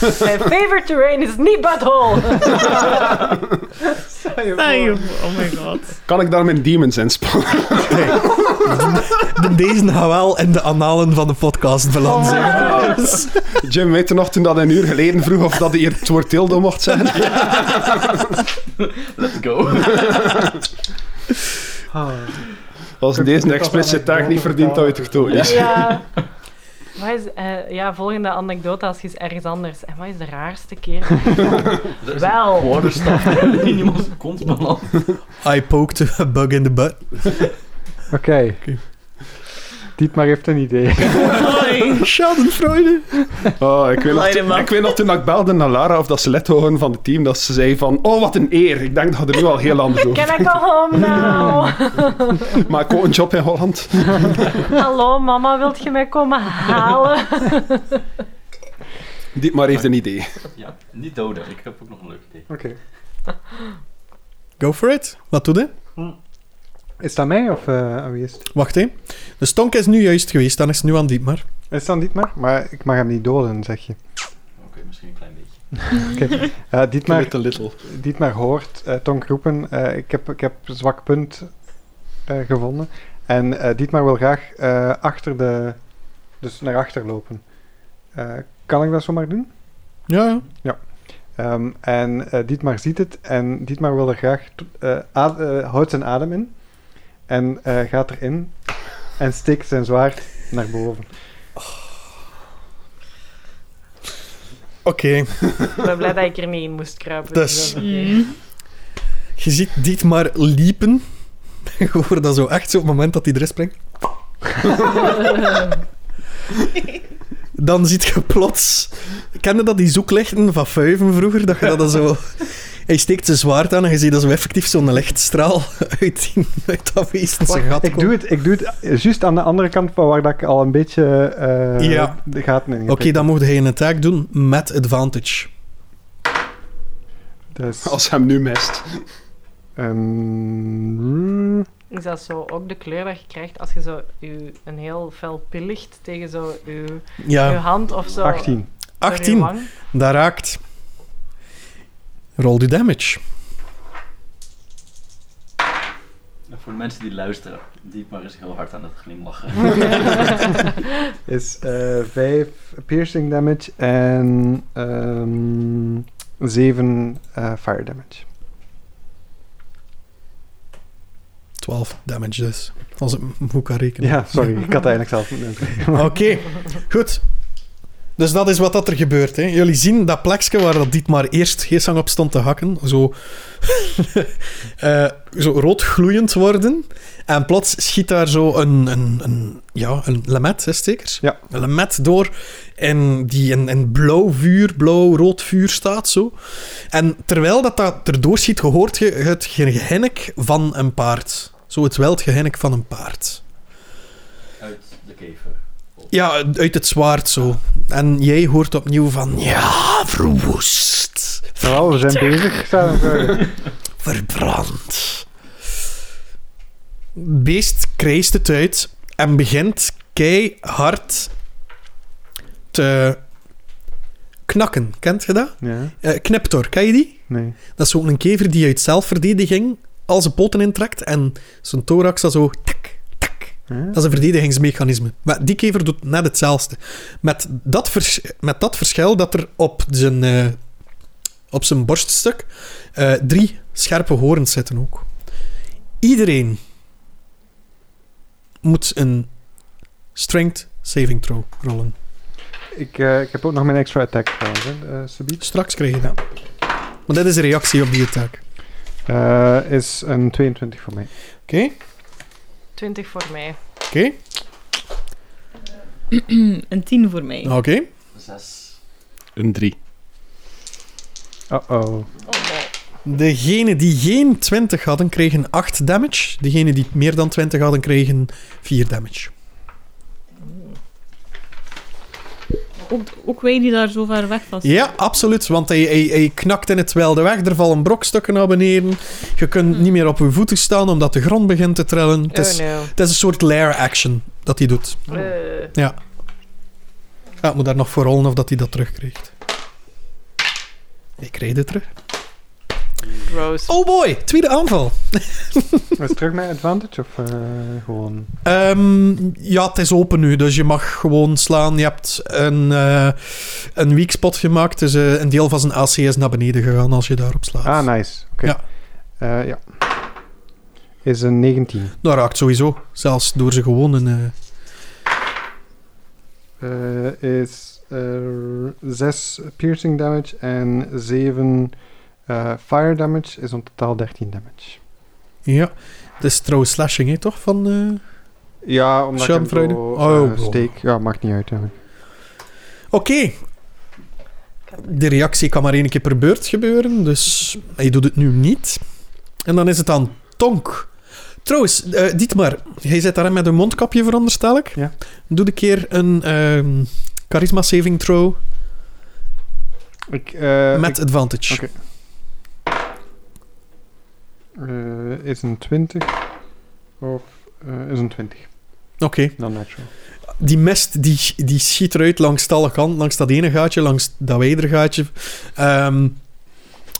S5: Mijn favorite terrain is niet butthole.
S4: Ah, joh. Oh my god.
S1: kan ik daar mijn demons inspannen?
S2: De- Deze gaan wel in de analen van de podcast belanden. Oh,
S1: Jim, weet je nog toen dat een uur geleden vroeg of dat hij hier het woord tilde mocht zeggen?
S6: Let's go.
S3: Ah,
S1: Als deze explicit taak niet verdient, dat je toch dood is.
S5: Ja. Wat is, eh, ja, volgende anekdote als je eens ergens anders. En wat is de raarste keer?
S6: Er is
S5: Wel.
S6: een Waterstaf die in iemands kont belandt.
S2: I poked a bug in the butt.
S3: Oké. Dietmar heeft een idee.
S4: Hoi.
S2: Schadenfreude.
S1: Oh, ik, weet nog,
S4: Light him up.
S1: ik weet nog toen ik belde naar Lara of dat ze lid waren van het team, dat ze zei van, oh wat een eer. Ik denk dat het er nu al heel anders over.
S5: Can I go home now?
S1: Maar ik ook een job in Holland.
S5: Hallo mama, wilt je mij komen halen?
S1: Dit maar heeft een idee.
S6: Ja, niet doden. Ik heb ook nog een leuk idee.
S3: Oké.
S2: Go for it. Wat doe je?
S3: Is dat mij of eh, aan wie is het?
S2: Wacht hè. De stonk is nu juist geweest, dan is het nu aan Dietmar.
S3: Is dat Dietmar? Maar ik mag hem niet doden, zeg je.
S6: Oké, misschien een klein beetje.
S3: Eh, Dietmar,
S1: Little little.
S3: Dietmar hoort eh Tonk roepen, eh, ik, heb, ik heb een zwak punt eh, gevonden. En eh, Dietmar wil graag eh, achter de... Dus naar achter lopen. Eh, kan ik dat zomaar doen?
S2: Ja, ja.
S3: Ehm, en eh, Dietmar ziet het en Dietmar wil er graag... t- eh, ad- eh, houdt zijn adem in en eh, gaat erin en steekt zijn zwaard naar boven.
S2: Oké.
S5: Ik ben blij dat ik er niet in moest kruipen.
S2: Dus-
S5: dat is oké.
S4: Mm.
S2: Je ziet Dietmar liepen. Je hoort dat zo echt zo op het moment dat hij erin springt. Dan ziet je plots... Kende dat die zoeklichten van Fuiven vroeger? Dat je dat dan zo... Hij steekt zijn zwaard aan en je ziet dat zo effectief zo'n lichtstraal uit, die, uit dat wezen zijn gat
S3: Ik
S2: komt.
S3: doe het, ik doe het eh, juist aan de andere kant van waar dat ik al een beetje eh,
S2: Ja.
S3: de gaten in
S2: Oké,
S3: heb.
S2: dan mocht hij een attack doen met advantage.
S3: Dus,
S1: Als hij hem nu mist.
S3: ehm,
S5: Is dat zo ook de kleur dat je krijgt als je zo uw, een heel fel pillicht tegen zo uw, uw
S2: Ja,
S5: hand of zo?
S3: 18.
S5: door uw
S2: 18.
S5: wang?
S2: Dat raakt. Rol die damage.
S6: En Nou, voor de mensen die luisteren, Dietmar is heel hard aan het glimlachen.
S3: is eh 5 piercing damage en ehm 7 eh, fire damage.
S2: 12 damage dus. Als ik hem goed kan rekenen.
S3: Ja, sorry, ik had dat eigenlijk zelf moeten doen.
S2: Oké, goed. Dus dat is wat dat er gebeurt. Hè. Jullie zien dat plekje waar dat Dietmar eerst Geesang op stond te hakken, zo, eh, zo rood gloeiend worden. En plots schiet daar zo een, een, een, ja, een lemet, hè, stekers?
S3: Ja.
S2: Een lemet door, en die in, in blauw vuur, blauw-rood vuur staat, zo. En terwijl dat, dat erdoor schiet, gehoort je het gehinnik van een paard. Zo het wild gehinnik van een paard.
S6: Uit de kever.
S2: Ja, uit het zwaard zo. En jij hoort opnieuw van... Ja, verwoest.
S3: Nou, we zijn bezig. zou ik zeggen.
S2: Verbrand. Beest krijst het uit en begint keihard te knakken. Kent je dat?
S3: Ja,
S2: Eh kniptor, ken je die?
S3: nee.
S2: Dat is zo'n kever die uit zelfverdediging al zijn poten intrekt en zijn thorax dan zo... Tak, tak,
S3: Huh?
S2: Dat is een verdedigingsmechanisme. Maar die kever doet net hetzelfde. Met dat, vers- met dat verschil dat er op zijn, eh, op zijn borststuk eh, drie scherpe horens zitten ook. Iedereen moet een strength saving throw rollen.
S3: Ik, eh, ik heb ook nog mijn extra attack trouwens, hè, eh, subiet.
S2: Straks krijg je dat. Maar dat is een reactie op die attack. Oké.
S3: Eh, is een 22 voor mij.
S5: 20 voor mij.
S2: Oké.
S4: Een 10 voor mij.
S2: Oké.
S6: Zes.
S1: Een 3.
S3: Uh-oh.
S5: Oh, nee.
S2: Degene die geen 20 hadden, kregen 8 damage. Degene die meer dan 20 hadden, kregen 4 damage.
S4: Ook, ook wij die daar zo ver weg van staan.
S2: Ja, absoluut. Want hij, hij, hij knakt in het wilde weg. Er vallen brokstukken naar beneden. Je kunt niet meer op je voeten staan omdat de grond begint te trillen. Het is,
S5: Oh, no.
S2: het is een soort lair action dat hij doet.
S5: Eh,
S2: Ja, ik moet daar nog voor rollen of dat hij dat terugkrijgt. Ik kreeg het terug.
S5: gross.
S2: Oh boy, tweede aanval.
S3: Is het terug met advantage of eh, gewoon...
S2: Ehm, ja, het is open nu, dus je mag gewoon slaan. Je hebt een, eh een weak spot gemaakt, dus eh, een deel van zijn AC is naar beneden gegaan als je daarop slaat.
S3: Ah, nice. Oké.
S2: Ja.
S3: Eh, ja. Is een 19.
S2: Dat raakt sowieso, zelfs door ze gewoon een... eh,
S3: Eh, is eh 6 piercing damage en 7 eh, fire damage. Is in totaal 13 damage.
S2: Ja, het is trouwens slashing, hè, toch? Van, eh,
S3: Ja, omdat ik hem
S2: Schaamfreude?
S3: zo,
S2: Oh,
S3: eh,
S2: bro.
S3: steek. Ja, maakt niet uit eigenlijk.
S2: Oké. De reactie kan maar één keer per beurt gebeuren, dus hij doet het nu niet. En dan is het aan Tonk. Trouwens, eh Dietmar, jij zit daar met een mondkapje, veronderstel ik.
S3: Ja.
S2: Doe een keer een ehm, charisma saving throw
S3: Ik, eh,
S2: met
S3: ik-
S2: advantage.
S3: oké. eh, is een 20. Of eh, is een 20.
S2: Oké.
S3: Dan natural.
S2: Die mist die, die schiet eruit langs de alle kanten, langs dat ene gaatje, langs dat wijder gaatje. Ehm,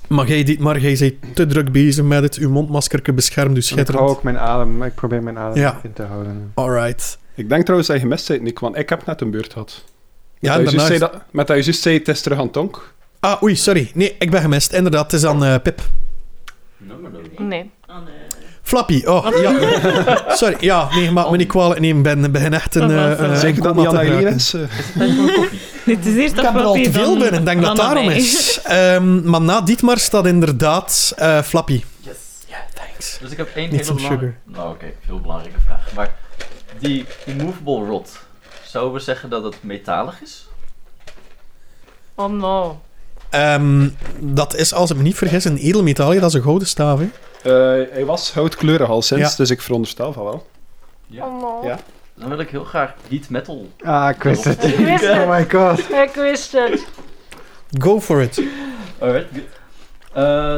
S2: maar jij, Dietmar, jij bent te druk bezig met het. Uw mondmasker beschermt dus u
S3: En Ik
S2: schitterend.
S3: hou ook mijn adem. Ik probeer mijn adem
S2: Ja.
S3: in te houden.
S2: Alright.
S1: Ik denk trouwens dat je gemist bent, Nick, want ik heb net een beurt gehad. dat
S2: Ja,
S1: je juist
S2: daarnaast-
S1: zei dat, met dat je juist zei, het is terug aan Tonk.
S2: Ah, oei, sorry. Nee, ik ben gemist. Inderdaad, het is aan eh, Pip.
S6: Nummer dan.
S5: Oh, Nee.
S4: eh,
S2: Flappy, oh, ja. Sorry, ja, nee, maak me niet kwalijk nemen. Ben, ik ben echt een...
S4: Dat was,
S2: eh,
S4: eh,
S2: een
S1: Zeker dat niet
S2: komma
S1: aan
S2: te
S1: Eileen
S2: gebruiken.
S1: is. eh.
S4: Het is eerst
S2: Ik heb er al te veel binnen. Ik denk dat daarom is. Ehm, maar na Dietmar staat inderdaad eh, Flappy.
S6: Yes.
S2: Thanks.
S6: Dus ik heb één
S2: Niet
S6: hele
S2: zo'n
S6: belangrijke... Nou oké, veel belangrijke vraag. Maar die immovable rod, zouden we zeggen dat het metalig is?
S5: Oh no.
S2: Ehm, dat is, als ik me niet vergis, een edelmetaal. Ja, dat is een gouden staaf, hè.
S1: Eh, hij was goudkleurig al sinds,
S2: Ja.
S1: dus ik veronderstel van wel.
S6: Ja.
S5: Oh no.
S1: Ja.
S6: Dan wil ik heel graag heat metal.
S3: Ah, ik wist het.
S5: Ik wist het.
S3: Oh my god.
S5: Ik wist het.
S2: Go for it.
S6: Alright. good.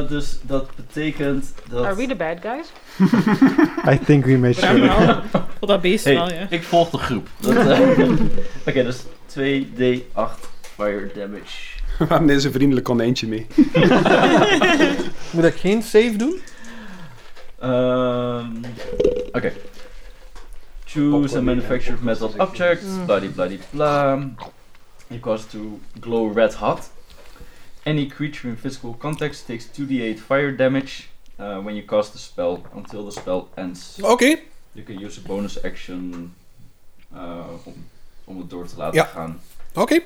S6: Eh, dus dat betekent dat...
S5: Are we the bad guys?
S3: I think we made sure.
S2: nou-
S4: Voor dat beest
S6: Hey,
S4: wel, ja.
S6: ik volg de groep. Dat, eh, Oké, dus 2d8 fire damage.
S1: We hebben deze vriendelijk konijntje mee.
S2: Moet ik geen save doen?
S6: Ehm, Oké. Choose a manufactured metal object, bloody bloody blah. Equals to glow red hot. Any creature in physical context takes 2d8 fire damage uh, when you cast the spell until the spell ends.
S2: Oké.
S6: You can use a bonus action uh, om, om het door te laten
S2: Ja.
S6: gaan.
S2: Oké.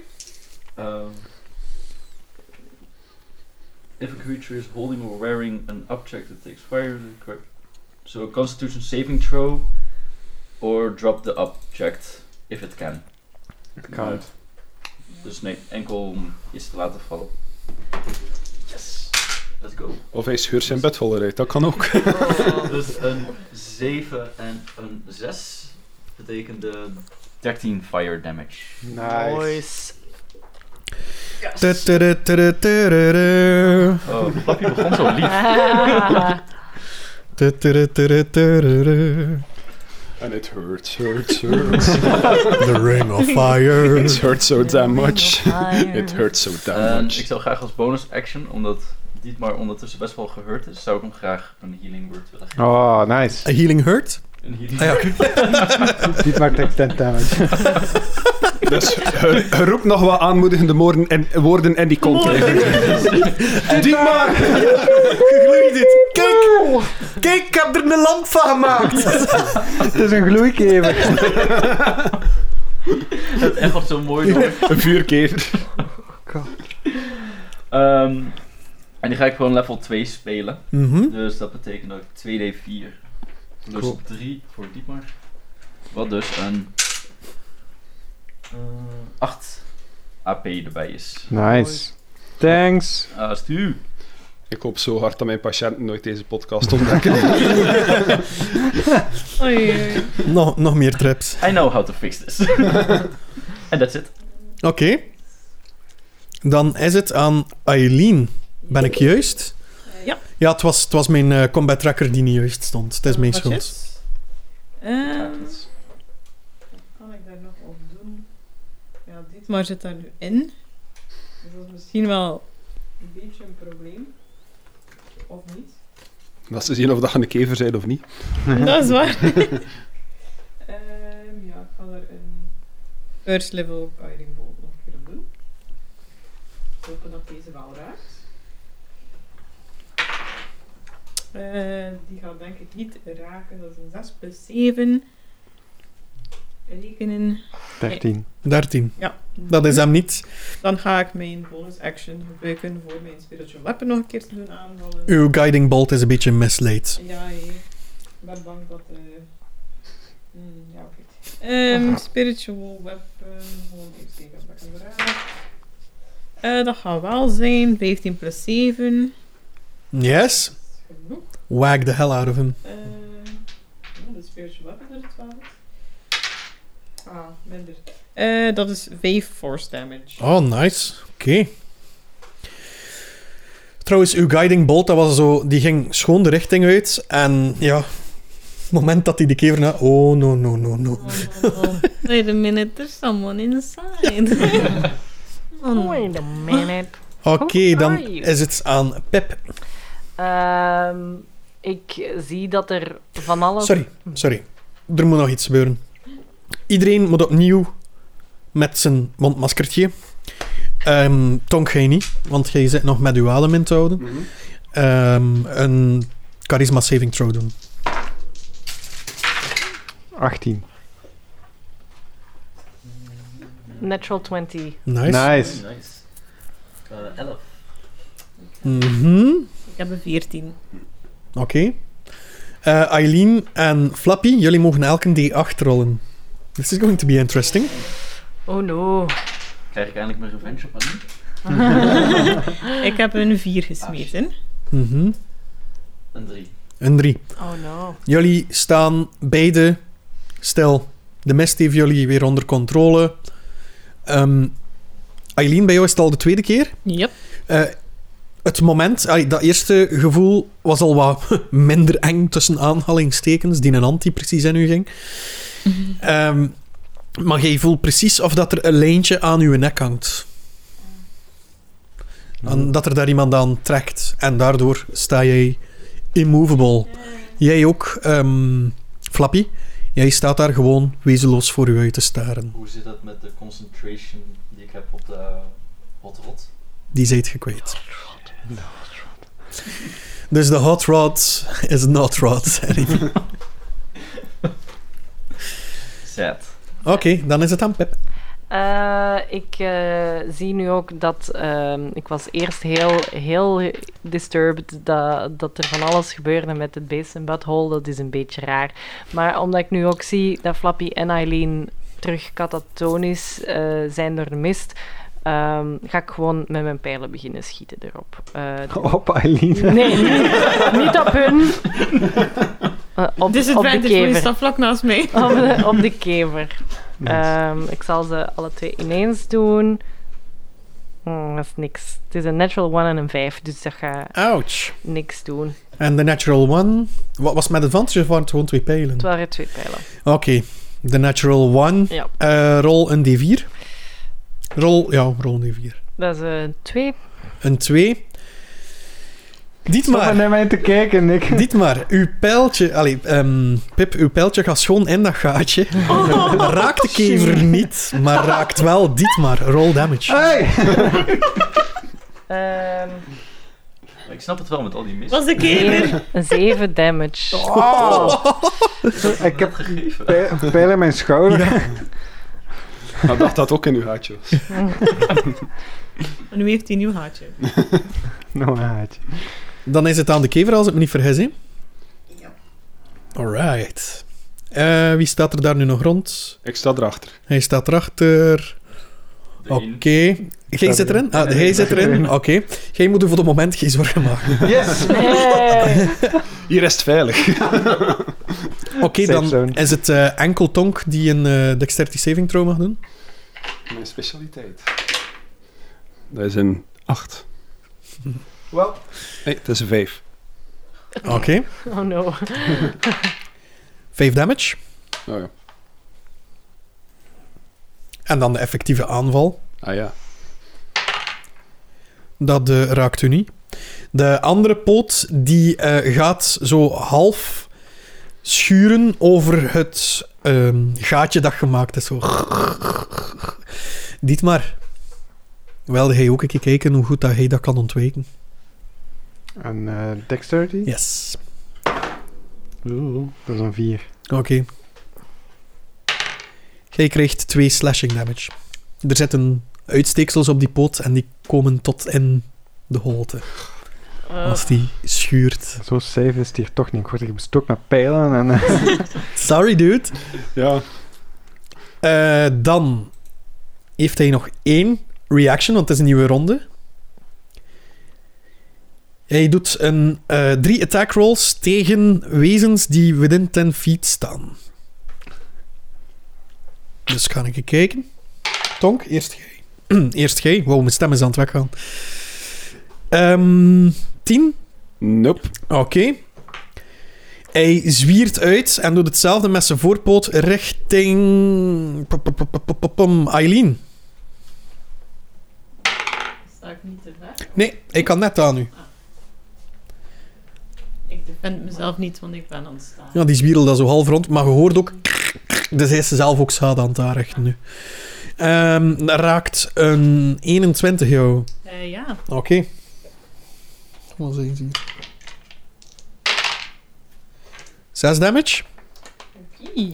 S6: Um, if a creature is holding or wearing an object that takes fire, the cre- so a Constitution saving throw, or drop the object if it can.
S3: Het count.
S6: Dus nee, enkel om iets te laten vallen. Yes, let's go.
S1: Of hij scheurt zijn bed vol eruit, dat kan ook.
S6: dus een 7 en een 6 betekende 13 fire damage.
S3: Nice.
S2: Tudurutudutururu.
S6: Oh, Flappy begon zo lief.
S2: Tudurutudutururu.
S1: And it hurts, hurts, hurts.
S2: The Ring of Fire.
S1: it hurts so damn much. It hurts so damn
S6: En Ehm, ik
S1: much.
S6: zou graag als bonus action, omdat Dietmar ondertussen best wel gehurt is, zou ik hem graag een healing word willen geven.
S3: Oh, nice.
S2: A Healing Hurt?
S6: Een healing
S2: Ah, ja.
S6: word.
S3: Dit maakt echt 10 damage.
S1: Dus eh, roep nog wat aanmoedigende woorden en, woorden en die content. Die maar!
S2: Gloeit dit. Kijk! Kijk, ik heb er een lamp van gemaakt!
S3: Het is een gloeikever.
S6: Dat is echt wat zo mooi door.
S1: Vier keer.
S6: Ehm, en die ga ik gewoon level 2 spelen.
S2: Mhm.
S6: Dus dat betekent dat ik 2d4 plus
S3: Cool.
S6: 3 voor Dietmar. Wat dus een eh, 8 AP erbij is.
S3: Nice. Thanks.
S6: Ah, Stu.
S1: Ik hoop zo hard dat mijn patiënten nooit deze podcast ontdekken.
S4: Oei, oei, oei.
S2: Nog, nog meer traps.
S6: I know how to fix this. En that's it.
S2: Oké. Dan is het aan Eileen. Ben ik juist?
S4: Ja. Oh,
S2: Ja, het was, het was mijn eh, combat tracker die niet juist stond. Het is mijn
S4: Wat
S2: schuld.
S4: is? Ehm,
S6: Kaartjes.
S4: kan ik daar nog op doen? Ja, dit maar zit daar nu in. Dus dat is misschien wel een beetje een probleem. Of niet?
S1: Dat ze zien of dat een kever zijn of niet.
S4: Dat is waar. Ehm, ja, ik ga er een first level guiding bolt nog een keer op doen. Hopen dat deze wel raakt. Eh, die gaat denk ik niet raken. Dat is een 6 plus 7. Rekenen.
S3: 13.
S2: 13.
S4: Ja.
S2: Dat is hem niet.
S4: Dan ga ik mijn bonus action gebruiken voor mijn spiritual weapon nog een keer te doen aanvallen.
S2: Uw guiding bolt is een beetje mislaid.
S4: Ja, hé. ik ben bang dat. eh mm, ja, oké. Ehm, spiritual weapon. Gewoon even kijken wat ik heb gedaan. Eh, dat gaat wel zijn. 15 plus 7.
S2: Yes.
S4: Dat is genoeg.
S2: Wag the hell out of him.
S4: Eh, oh, de spiritual weapon er 12. Ah, minder. Eh, dat is 5 force damage.
S2: Oh, nice. Oké. Trouwens, uw guiding bolt, dat was zo, die ging schoon de richting uit. En ja, het moment dat hij de kever na... Oh, no, no, no, no.
S4: Wait a minute, there's someone inside.
S2: Oh,
S5: Wait a minute.
S2: Oké,
S5: Who
S2: dan
S5: are you?
S2: is het aan Pep.
S5: Ehm, ik zie dat er van alles...
S2: Sorry, sorry. Er moet nog iets gebeuren. Iedereen moet opnieuw met zijn mondmaskertje. Ehm tong jij niet, want jij zit nog met uw adem in te houden.
S1: Mhm.
S2: Ehm, een charisma saving throw doen.
S3: 18.
S5: Natural 20.
S2: Nice.
S3: Nice.
S6: Nice. Eh, 11.
S2: Mhm.
S4: Ik heb een 14.
S2: Oké. Eh, Eileen en Flappy, jullie mogen elk een D8 rollen. This is going to be interesting.
S5: Oh no.
S6: Krijg ik eindelijk mijn revenge op Aline?
S4: Ik heb een 4 gesmeten.
S2: Mhm.
S6: Een 3.
S2: Een 3.
S5: Oh no.
S2: Jullie staan beide stil. De mist heeft jullie weer onder controle. Ehm, Eileen, bij jou is het al de tweede keer.
S4: Yep.
S2: Eh, het moment, allee, dat eerste gevoel was al wat minder eng tussen aanhalingstekens, die een anti precies in u ging. Ehm, maar jij voelt precies of dat er een lijntje aan uw nek hangt. En dat er daar iemand aan trekt. En daardoor sta jij immovable. Jij ook, ehm, Flappy. Jij staat daar gewoon wezenloos voor u uit te staren.
S6: Hoe zit dat met de concentration die ik heb op de hot rod?
S2: Die zijt gekwijt. Dus de hot rod is not rod. Oké,
S6: Zet.
S2: dan is het aan Pep.
S5: Eh, ik eh, zie nu ook dat ehm, ik was eerst heel, heel disturbed dat, dat er van alles gebeurde met het beest in Butthole. Dat is een beetje raar. Maar omdat ik nu ook zie dat Flappy en Eileen terug catatonisch eh, zijn door de mist, ehm, ga ik gewoon met mijn pijlen beginnen schieten erop. Eh,
S3: Op Eileen.
S5: nee, niet, niet op hun. Eh, op,
S4: Dus
S5: op de
S4: Disadvantage, want je
S5: kever.
S4: staat vlak naast mij.
S5: Op de, op de kever.
S3: Nice.
S5: Ehm, ik zal ze alle twee ineens doen. Hmm, dat is niks. Het is een natural one en een 5, dus dat gaat
S2: Ouch.
S5: niks doen.
S2: En de natural one... Wat was met advantage of waren het gewoon twee pijlen?
S5: Het waren twee pijlen.
S2: Oké. De natural one.
S5: Ja.
S2: Eh, rol een d4. Rol... Ja, rol een d4.
S5: Dat is eh, een 2.
S2: Een 2.
S3: Stop maar
S2: Dietmar,
S3: naar mij te kijken, Nick.
S2: Dietmar, uw pijltje... Allee, ehm, Pip, uw pijltje gaat schoon in dat gaatje. raakt de kever niet, maar raakt wel Dietmar. Roll damage.
S3: Hey!
S5: ehm,
S6: Ik snap het wel met al die mist.
S4: Was de kever.
S5: 7 damage.
S2: Oh.
S3: Ik heb
S6: gegeven.
S3: pij- pijlen in mijn schouder.
S1: Ik dacht dat ook in uw haatje was.
S4: En nu heeft hij een nieuw haatje.
S3: Nou, haatje.
S2: Dan is het aan de kever, als ik me niet vergis, hè? Alright. Eh, wie staat er daar nu nog rond?
S1: Ik sta erachter.
S2: Hij staat erachter.
S6: De
S2: Oké.
S6: één.
S2: Jij zit erin? Ah, hij zit erin. Oké. Jij moet u voor het moment geen zorgen maken.
S3: Yes!
S5: Hey.
S1: Hier is het veilig.
S2: Oké,
S3: Safe
S2: dan
S3: zone.
S2: is het eh, enkel Tonk die een eh, dexterity saving throw mag doen.
S1: Mijn specialiteit. Dat is een 8.
S3: Wel,
S1: Nee, het is een 5.
S2: Oké.
S5: Oh no.
S2: Vijf damage.
S1: Oh ja.
S2: En dan de effectieve aanval.
S1: Ah ja.
S2: Dat eh, raakt u niet. De andere poot die eh, gaat zo half schuren over het ehm, gaatje dat gemaakt is. Zo. Dietmar, wilde hij ook een keer kijken hoe goed dat hij dat kan ontwijken?
S3: Een eh, dexterity?
S2: Yes.
S3: Oeh, dat is een 4.
S2: Oké. Jij krijgt twee slashing damage. Er zitten uitsteeksels op die poot en die komen tot in de holte
S5: Eh,
S2: als die schuurt.
S3: Zo safe is het hier toch niet. Ik word hier bestookt met pijlen en... eh,
S2: Sorry, dude.
S1: Ja.
S2: Eh, dan heeft hij nog één reaction, want het is een nieuwe ronde. Hij doet een, eh, drie attack rolls tegen wezens die within 10 feet staan. Dus ga ik kijken. Tonk, eerst jij. eerst jij. Wow, mijn stem is aan het weggaan. Ehm 10.
S1: Nope.
S2: Oké. Hij zwiert uit en doet hetzelfde met zijn voorpoot richting. pop, pop, pop, pop, pop, pom, Eileen.
S4: Sta ik niet te ver?
S2: Nee, ik kan net aan nu.
S4: Ik defend mezelf niet, want ik ben aan het staan.
S2: Ja, die zwierde dat zo half rond, maar je hoort ook. Dus hij is zelf ook schade aan het aanrichten nu. Ehm, dat raakt een 21 jou.
S4: Eh, ja,
S2: Oké. Wat is deze hier? 6 damage.
S4: Ie.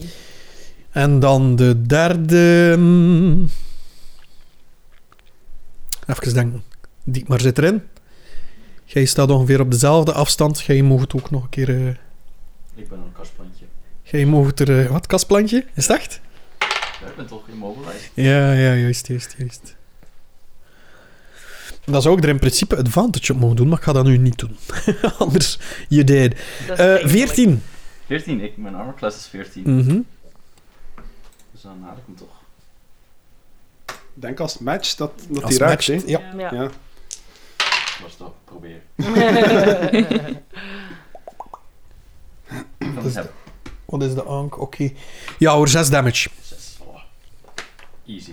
S2: En dan de derde. mm. Even denken. Dietmar zit erin. Jij staat ongeveer op dezelfde afstand. Jij mag het ook nog een keer. eh,
S6: Ik ben een kastplantje.
S2: jij mag het er. eh, wat, kastplantje? Is het echt?
S6: Jij bent toch immobilized?
S2: Ja, ja, juist, juist, juist. Dan zou ik er in principe advantage op mogen doen, maar ik ga dat nu niet doen. Anders, je deed.
S5: dat is
S2: Eh
S5: eigenlijk-
S2: 14.
S6: 14, ik, mijn armor class is 14.
S2: Mhm.
S6: Dus dan haal ik hem toch.
S1: Denk als het matcht dat, dat
S2: Als
S1: die raakt.
S2: matched,
S1: hè.
S2: ja.
S5: Ja.
S1: Ja.
S6: Was dat, probeer. Ik kan het hebben.
S2: Wat is de ank? Oké. Ja hoor, 6 damage.
S6: 6. Voilà. Easy.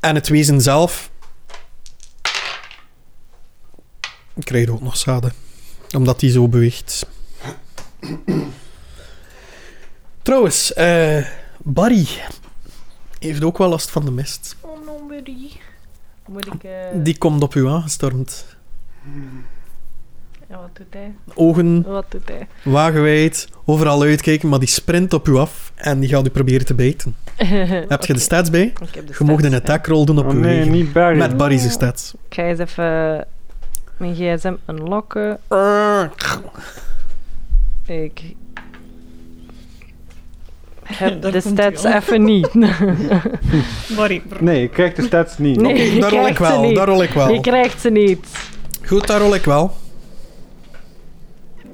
S2: En het wezen zelf krijgt ook nog schade. Omdat hij zo beweegt. Trouwens, eh, Barry heeft ook wel last van de mist.
S5: oh no, buddy. Moet ik... eh,
S2: Die komt op u aangestormd.
S5: En wat doet hij?
S2: Ogen
S5: Wat doet hij?
S2: wagenwijd, overal uitkijken, maar die sprint op u af en die gaat u proberen te bijten. Heb je de stats bij?
S5: Ik heb de
S2: Je mocht een
S5: stats,
S2: attack roll doen op
S3: Oh
S2: uw
S3: nee,
S2: wegen.
S3: niet Barry.
S2: Met Barry's stats.
S5: ja. Ik ga eens even mijn gsm unlocken. Ik heb
S4: Daar
S5: de
S4: komt
S5: stats
S4: hij al.
S5: even niet.
S4: Barry, brr.
S3: Nee, ik krijg de stats niet.
S5: Nee.
S2: Oké,
S5: je
S2: daar rol ik
S5: krijgt ze
S2: wel,
S5: niet.
S2: daar rol ik wel.
S5: Je krijgt ze niet.
S2: Goed, daar rol ik wel.